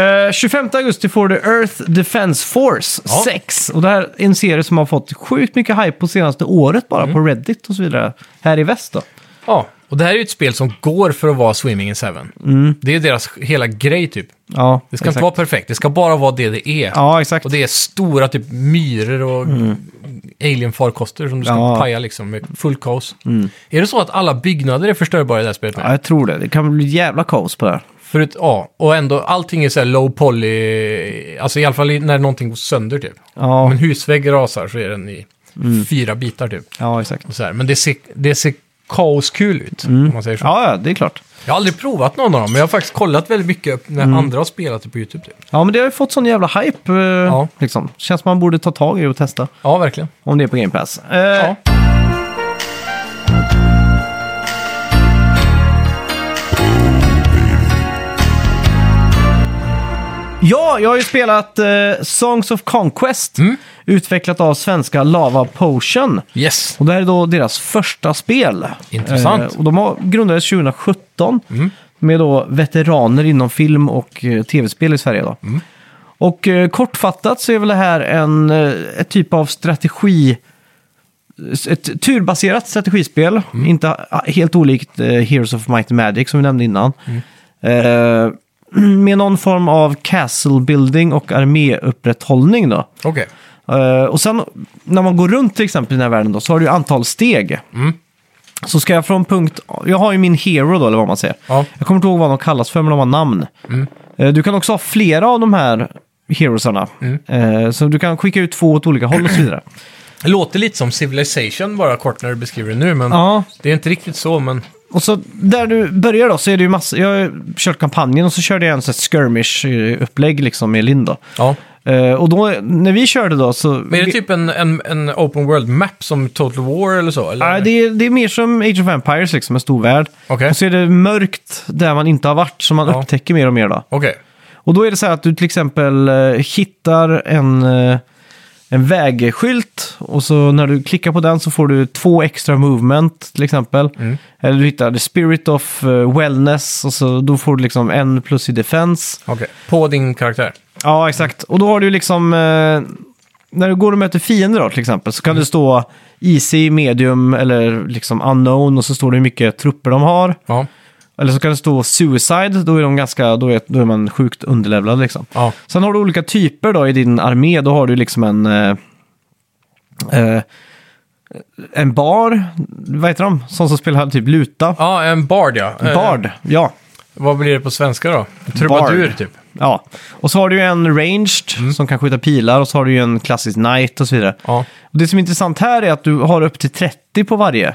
A: Eh, 25 augusti får du Earth Defense Force
B: Ja.
A: 6. Och det här är en serie som har fått sjukt mycket hype på senaste året bara
B: Mm.
A: på Reddit och så vidare. Här i väst då.
B: Ja, och det här är ju ett spel som går för att vara Swimming in Seven.
A: Mm.
B: Det är ju deras hela grej typ.
A: Ja,
B: Det ska inte vara perfekt, det ska bara vara det det är.
A: Ja, exakt.
B: Och det är stora typ myror och alien-farkoster som du ska
A: Ja. Mm.
B: paja liksom med full kaos. Är det så att alla byggnader är förstörbara i det här spelet? nu?
A: Ja, jag tror det. Det kan bli jävla kaos på det här.
B: Förut, ja, och ändå allting är så här low poly, alltså i alla fall i- när någonting går sönder typ.
A: Ja, Mm.
B: Om en husvägg rasar så är den i fyra bitar typ.
A: ja exakt.
B: Och så här. Men det ser, det ser kaoskul ut,
A: Mm.
B: om man säger så.
A: Ja, ja, det är klart.
B: Jag har aldrig provat någon av dem, men jag har faktiskt kollat väldigt mycket när
A: Mm.
B: andra har spelat det på YouTube. Typ.
A: Ja, men det har ju fått sån jävla hype. Eh,
B: Ja.
A: liksom. Känns som man borde ta tag i och testa.
B: Ja, verkligen.
A: Om det är på Game Pass. Eh,
B: Ja.
A: Ja, jag har ju spelat eh, Songs of Conquest.
B: Mm.
A: Utvecklat av svenska Lava Potion.
B: Yes.
A: Och det här är då deras första spel. Eh,
B: Intressant.
A: och de har grundades 2017 med då veteraner inom film och eh, tv-spel i Sverige. Då. Och eh, kortfattat så är väl det här en eh, ett typ av strategi... Ett turbaserat strategispel. Inte ah, helt olikt eh, Heroes of Might and Magic som vi nämnde innan. Eh, med någon form av castle building och arméupprätthållning då.
B: Okej.
A: Eh, och sen när man går runt till exempel i den här världen då, så har du ju antal steg.
B: Mm.
A: Så ska jag från punkt... Jag har ju min hero då, eller vad man säger.
B: Ja. Mm.
A: Jag kommer inte ihåg vad de kallas för, men de har namn. Eh, du kan också ha flera av de här heroesarna.
B: Mm.
A: Eh, så du kan skicka ut två åt olika håll och så vidare.
B: Det låter lite som Civilization bara kort när du beskriver det nu, men
A: ja,
B: det är inte riktigt så. Men
A: Och så där du börjar då så är det ju massa... Jag har ju kört kampanjen och så körde jag en sån här skirmish-upplägg liksom med Linda.
B: ja.
A: Eh, och då, när vi körde då så...
B: Men är det typ en, en, en open world map som Total War eller så? Eller?
A: Nej, det är, det är mer som Age of Empires, liksom, en stor värld.
B: Okej.
A: Och så är det mörkt där man inte har varit, som man
B: Ja.
A: upptäcker mer och mer. Då.
B: Okej.
A: Och då är det så här att du till exempel eh, hittar en, eh, en vägskylt och så när du klickar på den så får du två extra movement till exempel.
B: Mm.
A: Eller du hittar the spirit of eh, wellness och så då får du liksom en plus i defense.
B: Okej. På din karaktär?
A: Ja, exakt. Och då har du liksom... Eh, när du går och möter fiender då, till exempel så kan
B: Mm.
A: det stå easy, medium eller liksom unknown och så står det hur mycket trupper de har.
B: Ja.
A: Eller så kan det stå suicide, då är, de ganska, då är, då är man sjukt underlevlad liksom.
B: ja.
A: Sen har du olika typer då i din armé. Då har du liksom en... Eh, eh, en bar, vad heter de? Sån som spelar typ luta.
B: Ja, en bard ja. Eh,
A: Bard, ja.
B: vad blir det på svenska då? Trubadur
A: Bard.
B: typ?
A: Ja, och så har du ju en ranged som kan skjuta pilar och så har du ju en klassisk knight och så vidare.
B: Mm. Ja.
A: Och det som är intressant här är att du har upp till 30 på varje.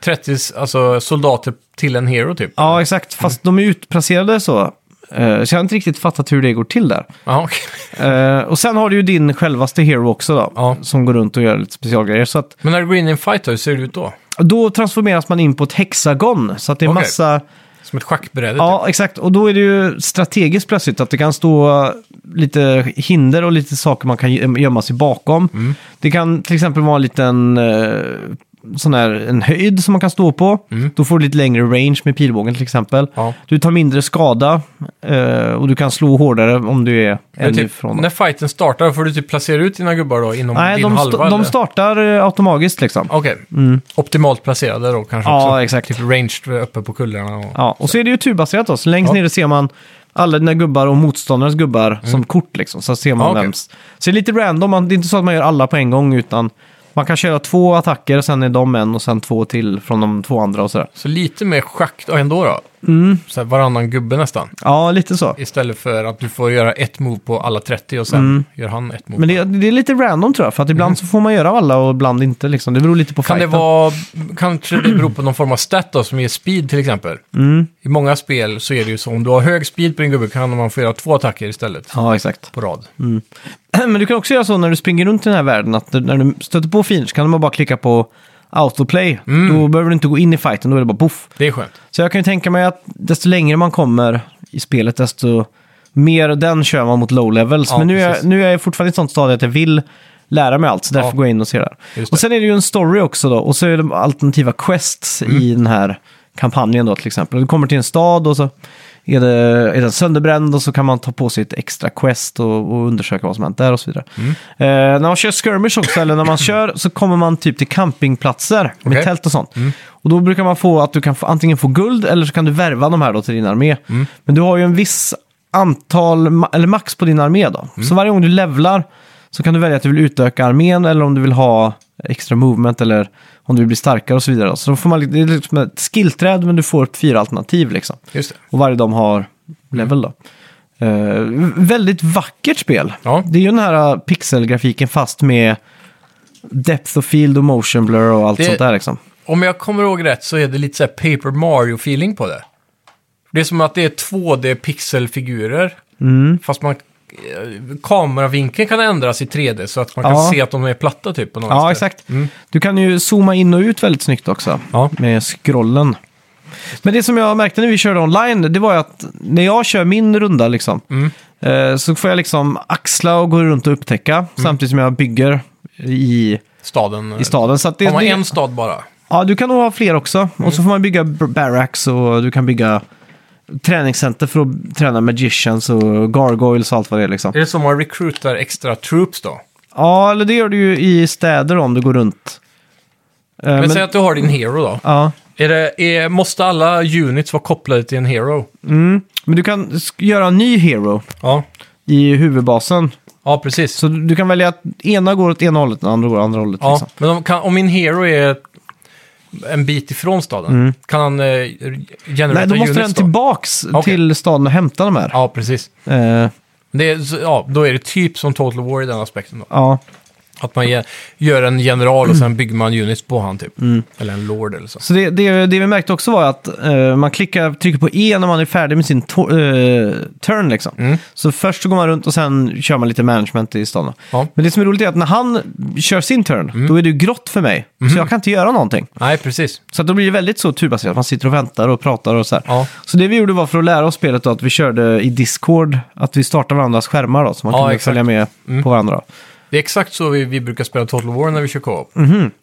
B: 30 alltså, soldater till en hero typ?
A: Ja, exakt. Fast de är utplacerade så. Eh, Så jag har inte riktigt fattat hur det går till där.
B: Ja, okej.
A: Eh, Och sen har du ju din självaste hero också då.
B: Ja.
A: Som går runt och gör lite specialgrejer. Så att
B: Men när du går in i en fight då, hur ser det ut då?
A: då transformeras man in på ett hexagon. Så att det är
B: Okej.
A: massa
B: Som ett schackbräde. typ.
A: Ja, exakt. Och då är det ju strategiskt plötsligt att det kan stå lite hinder och lite saker man kan gö- gömma sig bakom.
B: Mm.
A: Det kan till exempel vara en liten eh, sån här, en höjd som man kan stå på. Då får du lite längre range med pilbågen till exempel.
B: Mm. Ja.
A: Du tar mindre skada eh, och du kan slå hårdare om du är
B: Men
A: en
B: typ,
A: ifrån.
B: när fighten startar får du typ placera ut dina gubbar då inom
A: Nej,
B: din
A: de,
B: halva?
A: sta- de
B: eller?
A: startar eh, automatiskt liksom.
B: Okej. Optimalt placerade då kanske
A: Ja,
B: också.
A: exakt.
B: Typ ranged uppe på kullarna. Och...
A: Ja, och så är det ju turbaserat då. Så längst
B: Ja. Mm.
A: ner ser man alla dina gubbar och motståndarens gubbar som kort liksom. Så ser man
B: Ja, okej.
A: vems. Så det är lite random. Man, det är inte så att man gör alla på en gång utan man kan köra två attacker och sen är de en och sen två till från de två andra och sådär.
B: Så lite mer schack då ändå då.
A: Mm.
B: Så här varannan gubbe nästan.
A: Ja, lite så.
B: Istället för att du får göra ett move på alla 30 och sen gör han ett move.
A: Mm. Men det, det är lite random tror jag, för att ibland så får man göra alla och ibland inte liksom. Det beror lite på
B: Mm. Kan det
A: fighten.
B: vara, kanske det beror på någon form av stat då, som ger speed till exempel.
A: Mm.
B: I många spel så är det ju så, om du har hög speed på din gubbe kan man få göra två attacker istället
A: Ja, exakt.
B: på rad.
A: Mm. Men du kan också göra så när du springer runt i den här världen att när du stöter på fiender så kan man bara klicka på autoplay.
B: Mm.
A: Då behöver du inte gå in i fighten, då är det bara poff.
B: Det är skönt.
A: Så jag kan ju tänka mig att desto längre man kommer i spelet, desto mer den kör man mot low levels.
B: Ja,
A: Men nu är, jag,
B: precis.
A: nu är jag fortfarande i ett sånt stadie att jag vill lära mig allt, så därför
B: Ja.
A: går jag in och ser det här.
B: Just
A: Och
B: det.
A: sen är det ju en story också då, och så är det alternativa quests
B: Mm.
A: i den här kampanjen då till exempel. Du kommer till en stad och så är, det, är den sönderbränd och så kan man ta på sig ett extra quest och, och undersöka vad som hänt där och så vidare.
B: Mm.
A: Eh, när man kör skirmish också, eller när man kör, så kommer man typ till campingplatser med
B: Okej.
A: tält tält och sånt. Och då brukar man få att du kan få, antingen få guld eller så kan du värva de här då till din armé. Men du har ju en viss antal, ma- eller max på din armé då. Så varje gång du levlar så kan du välja att du vill utöka armén eller om du vill ha extra movement eller om du vill bli starkare och så vidare. Så då får man, li- det är liksom ett skillträd men du får fyra alternativ liksom.
B: Just det.
A: Och varje de har level då. Eh, väldigt vackert spel.
B: Ja.
A: Det är ju den här eh, pixelgrafiken fast med depth of field och motion blur och allt
B: Det-
A: sånt där liksom.
B: Om jag kommer ihåg rätt så är det lite så här Paper Mario-feeling på det. Det är som att det är 2D-pixelfigurer.
A: Mm.
B: Fast man, eh, kameravinkeln kan ändras i 3D så att man
A: Ja.
B: kan se att de är platta typ på något
A: Ja,
B: sätt.
A: exakt. Du kan ju zooma in och ut väldigt snyggt också
B: Ja.
A: med scrollen. Men det som jag märkte när vi körde online, det var ju att när jag kör min runda liksom,
B: Mm.
A: eh, så får jag liksom axla och gå runt och upptäcka
B: Mm.
A: samtidigt som jag bygger i,
B: Staden.
A: i staden. Så att det,
B: Har man
A: det,
B: en Mm. stad bara?
A: Ja, du kan nog ha fler också. Och så får man bygga b- barracks och du kan bygga träningscenter för att träna magicians och gargoyles och allt vad det är liksom.
B: Är det som man recruitar extra troops då?
A: Ja, eller det gör du ju i städer om du går runt. Eh,
B: Men, säg att du har din hero då.
A: Ja.
B: Är det, är, måste alla units vara kopplade till en hero?
A: Mm. Men du kan sk- göra en ny hero
B: Ja,
A: i huvudbasen.
B: ja precis.
A: Så du du kan välja att ena går åt ena hållet och den andra går åt andra hållet.
B: ja.
A: Liksom.
B: Men om, kan, om min hero är en bit ifrån staden, kan han eh, generera
A: Mm. Nej, då måste den
B: units då?
A: tillbaks
B: Okej.
A: till staden och hämta de här. Eh, Ja.
B: Ja, precis. Det är, så- ja, då är det typ som Total War i den aspekten då.
A: ja.
B: Att man ge, gör en general och
A: Mm.
B: sen bygger man units på han typ. Eller en lord eller så.
A: Så det, det, det vi märkte också var att eh, man klickar, trycker på E när man är färdig med sin to- eh, turn. Liksom.
B: Mm.
A: Så först så går man runt och sen kör man lite management i staden.
B: Ja. Mm.
A: Men det som är roligt är att när han kör sin turn, då är det ju grått för mig. Så jag kan inte göra någonting.
B: Nej, precis.
A: Så att då blir det väldigt så turbaserat. Man sitter och väntar och pratar och så här.
B: Ja.
A: Så det vi gjorde var för att lära oss spelet då, att vi körde i Discord, att vi startade varandras skärmar då, så man
B: Ja,
A: kunde
B: exakt. Mm.
A: följa med på varandra.
B: Det är exakt så vi, vi brukar spela Total War när vi kör co-op.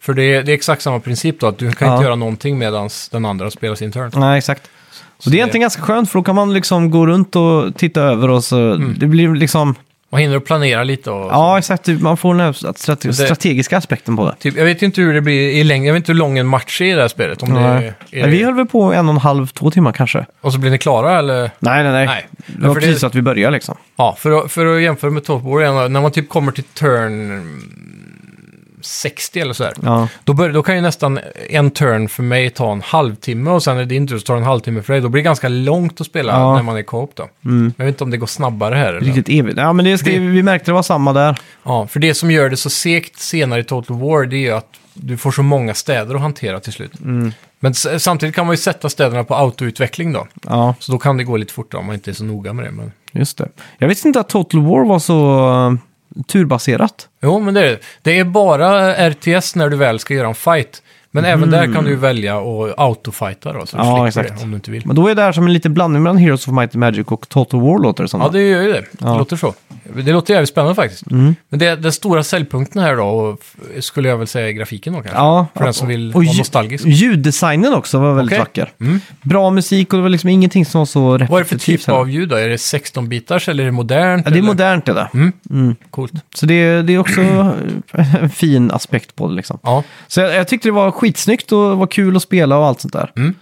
B: För det är, det är exakt samma princip då, att du kan
A: Mhm. Ja.
B: inte göra någonting medan den andra spelar sin turn.
A: Nej, exakt. Och det är egentligen ganska skönt, för då kan man liksom gå runt och titta över och så,
B: Mm.
A: det blir liksom,
B: Man hinner att planera lite och...
A: ja exakt, typ, man får den här strate-
B: Det-
A: strategiska aspekten på det.
B: Typ, jag vet ju inte hur det blir i längden, jag vet inte hur lång en match är i det här spelet. Om det
A: Nej.
B: är, är
A: Men vi höll väl på en och en halv, två timmar kanske.
B: Och så blir ni klara eller?
A: Nej, nej, nej.
B: Nej.
A: Det var
B: För det-
A: precis att vi började liksom.
B: Ja, för att, för att jämföra med Total War igen, då, när man typ kommer till turn mm, 60 eller sådär.
A: Ja.
B: Då, bör, då kan ju nästan en turn för mig ta en halvtimme och sen är det din tur så tar det en halvtimme för dig. Då blir det ganska långt att spela
A: Ja. Mm.
B: när man är co-op då. Jag vet inte om det går snabbare här. Eller?
A: Riktigt evigt. Ja, men det ska,
B: Det-
A: vi märkte det var samma där.
B: Ja, för det som gör det så segt senare i Total War det är ju att du får så många städer att hantera till slut.
A: Mm.
B: Men s- samtidigt kan man ju sätta städerna på autoutveckling då.
A: Ja.
B: Så då kan det gå lite fortare om man inte är så noga med det. Men...
A: Just det. Jag visste inte att Total War var så eh, turbaserat.
B: Jo, men det är det. Det är bara RTS när du väl ska göra en fight. Men även där kan du ju välja att autofighta då, så du
A: Mm. Ja,
B: slipper
A: exakt.
B: det om du inte vill.
A: Men då är det här som en liten blandning mellan Heroes of Might and Magic och Total War låter det som.
B: Ja, det gör ju det.
A: Ja. Mm.
B: Det låter så. Det låter jävligt spännande faktiskt. Men det, den stora säljpunkten här då, och f- skulle jag väl säga är grafiken då kanske.
A: Ja,
B: För den som vill
A: och
B: vara
A: ljud-
B: nostalgisk.
A: Ljuddesignen också var väldigt
B: Okej. Mm.
A: vacker. Bra musik och det var liksom ingenting som var så repetitivt.
B: Vad är det för typ
A: heller.
B: av ljud då? Är det 16-bitars eller är det modernt?
A: Ja, det är
B: eller?
A: modernt det där.
B: Mm. Coolt.
A: Så det, det är också en fin aspekt på det liksom.
B: Ja,
A: Så jag, jag tyckte det var skitsnyggt och var kul att spela och allt sånt där.
B: Mm.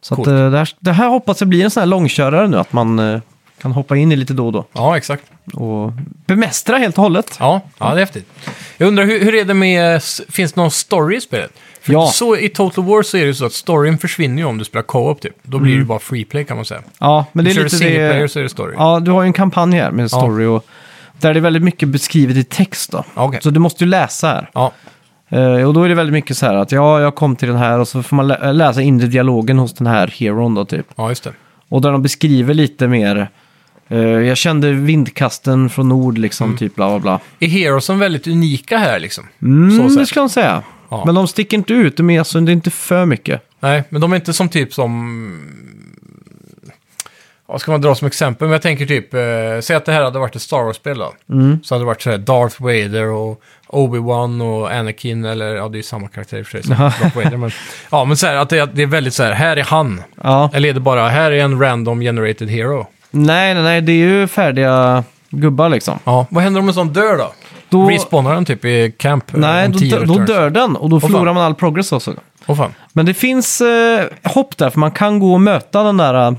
A: Så att,
B: Coolt.
A: eh, det, här, det här hoppas jag blir en sån här långkörare nu, att man eh, kan hoppa in i lite då och då
B: ja exakt.
A: och bemästra helt och hållet.
B: Ja, ja, det är häftigt. Jag undrar, hur, hur är det med, s- finns det någon story i spelet? För
A: Ja.
B: så, I Total War så är det ju så att storyn försvinner ju om du spelar co-op typ. Då blir det bara free play kan man säga.
A: Ja, Mm. men det är
B: Kör du
A: lite
B: single player
A: det...
B: så är det story.
A: Ja, du har ju en kampanj här med en story och där det är väldigt mycket beskrivet i text då.
B: Okej.
A: Så du måste ju läsa här.
B: Ja,
A: Eh, och då är det väldigt mycket så här att ja, jag kom till den här och så får man lä- läsa inre dialogen hos den här heron då typ.
B: ja just det.
A: Och där de beskriver lite mer. eh, jag kände vindkasten från nord liksom,
B: Mm.
A: typ bla bla bla.
B: Är Heroesen väldigt unika här liksom?
A: Mm,
B: Så
A: det
B: sett.
A: skulle jag säga.
B: Ja.
A: Men de sticker inte ut, de är, alltså, det är inte för mycket.
B: Nej, men de är inte som typ som... Vad ska man dra som exempel? Men jag tänker typ, eh, säg att det här hade varit ett Star Wars-spel då.
A: Mm.
B: Så hade det varit så här Darth Vader och Obi-Wan och Anakin eller, ja det är ju samma karaktär i och för sig som Darth Vader. Men, ja, men så här att det, det är väldigt så här, här är han.
A: Ja.
B: Eller är det bara, här är en random generated hero.
A: Nej, nej, nej, det är ju färdiga gubbar liksom.
B: Ja, vad händer om en sån dör då?
A: Då-
B: Respawnar den typ i camp? eh,
A: Nej,
B: om
A: då,
B: 10
A: dö- då
B: returns?
A: dör den och då
B: fan.
A: förlorar man all progress också.
B: Åh fan.
A: Men det finns eh, hopp där, för man kan gå och möta den där eh,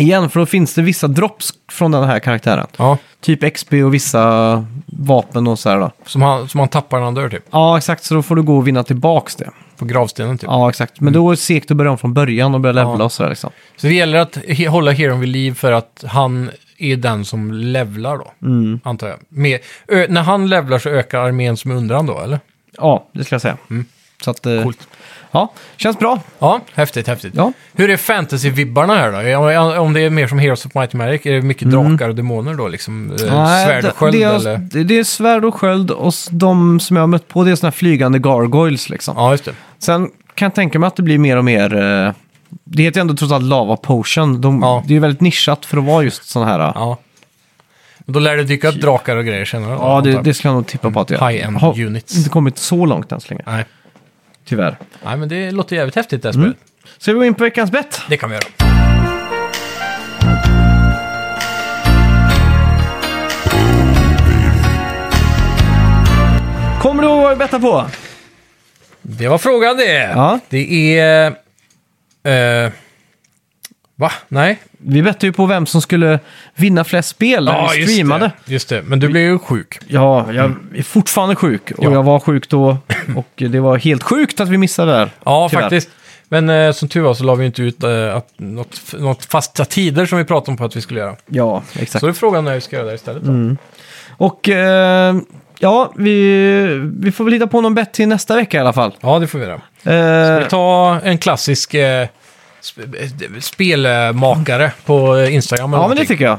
A: igen, för då finns det vissa drops från den här karaktären.
B: Ja,
A: Typ XP och vissa vapen och så här då.
B: som han, som han tappar när han dör typ.
A: Ja, exakt, så då får du gå och vinna tillbaks det. Mm.
B: På gravstenen typ.
A: Ja, exakt. Men då är det segt att börja om från början och börja levla
B: Ja.
A: och sådär liksom.
B: Så det gäller att he- hålla heron vid liv för att han är den som levlar då,
A: Mm.
B: antar jag. Med, ö, när han levlar så ökar armén som är under han då, eller?
A: Ja, det ska jag säga. Så att, eh,
B: Coolt.
A: Ja, känns bra.
B: Ja, häftigt, häftigt.
A: Ja.
B: Hur är fantasy-vibbarna här då? Om- Om det är mer som Heroes of Might and Magic, är det mycket drakar och demoner då? Liksom, eh, svärd och sköld
A: Mm. det, är,
B: eller?
A: det- det är svärd och sköld och s- de som jag har mött på det är såna här flygande gargoyles liksom.
B: Ja, just det.
A: Sen kan jag tänka mig att det blir mer och mer... eh, Det heter ändå trots allt Lava Potion. De,
B: Ja.
A: Det är väldigt nischat för att vara just sådana här... eh. Ja,
B: Ja. Men Då lär det dyka upp drakar och grejer senare. då, antar
A: det,
B: jag.
A: det ska jag nog tippa på att jag
B: High-end units.
A: inte kommit så långt än så länge.
B: Nej.
A: Tyvärr.
B: Nej, men det låter jävligt häftigt det här
A: Mm.
B: spelet.
A: Ska vi gå in på veckans bett?
B: Det kan vi göra.
A: Kommer du ihåg vad vi bettade på?
B: Det var frågan det.
A: Ja.
B: Det är... Eh, va? Nej?
A: Vi bettade ju på vem som skulle vinna flest spel när vi streamade.
B: Just det. just det. Men du blev ju sjuk.
A: Ja, jag är fortfarande sjuk och
B: Ja.
A: jag var sjuk då och det var helt sjukt att vi missade där.
B: Ja,
A: Tyvärr.
B: faktiskt. Men eh, som tur var så la vi inte ut eh, att, något, något fasta tider som vi pratade om på att vi skulle göra.
A: Ja, exakt.
B: Så är frågan när vi ska göra det istället. Då.
A: Mm. Och eh, ja, vi, vi får väl hitta på någon bett till nästa vecka i alla fall.
B: Ja, det får vi göra.
A: Eh,
B: Vi tar en klassisk eh, sp- eh, spelmakare på Instagram. eller
A: ja, men det
B: någonting.
A: tycker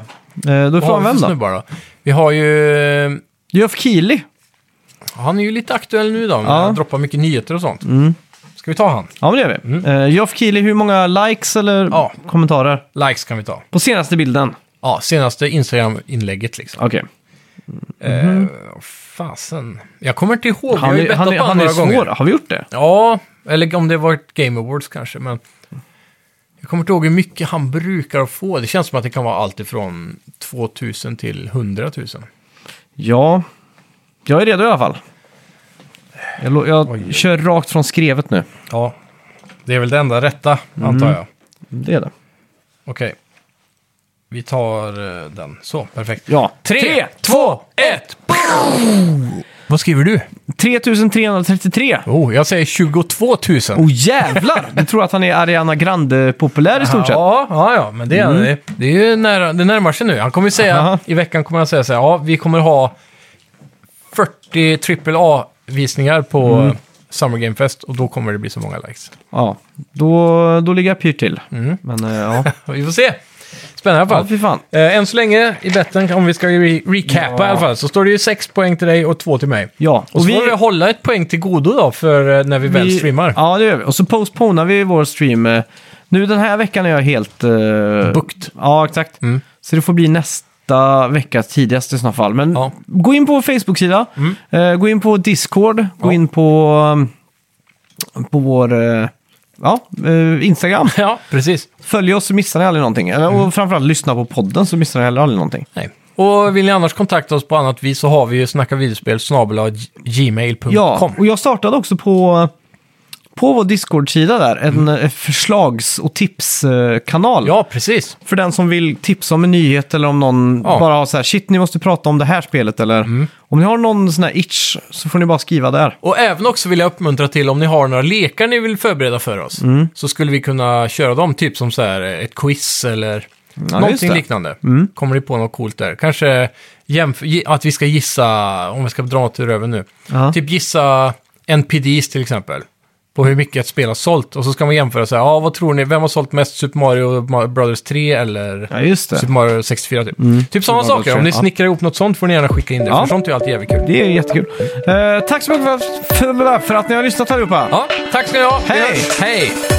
A: jag. Eh, då
B: Vad har
A: får vi
B: vi
A: vem
B: för
A: då?
B: snubbar då? Vi har ju... eh,
A: Geoff Keely.
B: Han är ju lite aktuell nu då. men
A: Ja. Mm.
B: Han droppar mycket nyheter och sånt. Ska vi ta han?
A: Ja, men det gör vi. Eh, Geoff Keely, hur många likes eller
B: Mm. Ja.
A: kommentarer?
B: Likes kan vi ta.
A: På senaste bilden.
B: Ja, senaste Instagram-inlägget liksom.
A: Okej.
B: Eh, fasen. Jag kommer inte ihåg.
A: Han,
B: jag har ju
A: är- han,
B: bettat
A: är-
B: på
A: han
B: han
A: är
B: några
A: svår.
B: gånger.
A: Har vi gjort det?
B: Ja, eller om det var ett Game Awards kanske. Men jag kommer inte ihåg hur mycket han brukar få. Det känns som att det kan vara allt ifrån 2000 till 100 000.
A: Ja, jag är redo i alla fall. Jag, lo- jag
B: Oj, oj.
A: kör rakt från skrevet nu.
B: Ja, det är väl det enda rätta,
A: Mm.
B: antar jag.
A: Det är det.
B: Okej. Vi tar eh, den. Så, perfekt.
A: Ja.
B: Tre, två, ett, boom! Vad skriver du?
A: 3333.
B: Oh, jag säger 22 000.
A: Oh jävlar! Du tror att han är Ariana Grande-populär i stort sett? Mm.
B: Ja, ja, ja, men det, det, det är ju nära, det närmar sig nu. Han kommer ju säga,
A: Aha.
B: i veckan kommer han säga så här, ja, vi kommer ha 40 AAA-visningar på
A: Mm.
B: Summer Game Fest och då kommer det bli så många likes. Mm.
A: Ja. Då, då ligger jag pyrt till. Men eh, ja.
B: Vi får se. Spännande i alla
A: Ja,
B: fall.
A: fy fan.
B: Eh, Än så länge i betten, om vi ska re- recappa i alla fall, så står det ju 6 poäng till dig och 2 till mig.
A: Ja,
B: Och, så
A: vi-
B: får vi hålla ett poäng till godo då för eh, när vi, väl
A: Vi-
B: streamar.
A: Ja, det gör vi. Och så postponar vi vår stream. eh, Nu den här veckan är jag helt... Uh...
B: Bukt.
A: Ja, exakt.
B: Mm.
A: Så det får bli nästa vecka tidigast i sådana fall. Men
B: Ja. Mm.
A: gå in på vår Facebook-sida, eh, gå in på Discord, gå
B: Ja.
A: in på, um, på vår eh, ja, eh, Instagram.
B: Ja, precis.
A: Följ oss så missar ni aldrig någonting. Eller,
B: Mm.
A: Och framförallt lyssna på podden så missar ni heller aldrig någonting.
B: Nej. Och vill ni annars kontakta oss på annat vis så har vi ju snacka videospel gmail.com.
A: Ja, och jag startade också på, på vår Discord-sida där en
B: Mm.
A: eh, förslags och tipskanal.
B: ja, precis.
A: För den som vill tipsa om en nyhet eller om någon
B: Ja.
A: bara har så här, shit ni måste prata om det här spelet eller om ni har någon sån här itch så får ni bara skriva där.
B: Och även också vill jag uppmuntra till om ni har några lekar ni vill förbereda för oss.
A: Mm.
B: Så skulle vi kunna köra dem, typ som så här eh, ett quiz eller
A: just
B: någonting
A: det. Mm.
B: liknande. Kommer ni på något coolt där? Kanske jämf- gi- att vi ska gissa, om vi ska dra något ur röven nu.
A: Ja.
B: Typ gissa NPDs till exempel. På hur mycket ett spel har sålt. Och så ska man jämföra så här, ja vad tror ni, vem har sålt mest Super Mario Ma- Brothers 3 eller
A: Ja, just det.
B: Super Mario 64 typ. Typ sådana
A: Mm. Super Mario
B: saker. Om ni
A: ja.
B: snickrar ihop något sånt får ni gärna skicka in det,
A: Ja.
B: för sånt är ju alltid jävligt kul.
A: Det är jättekul. Eh, tack så mycket för, för, för att ni har lyssnat allihopa.
B: Ja, tack ska ni ha. Vi
A: Hej!
B: hörs. Hej!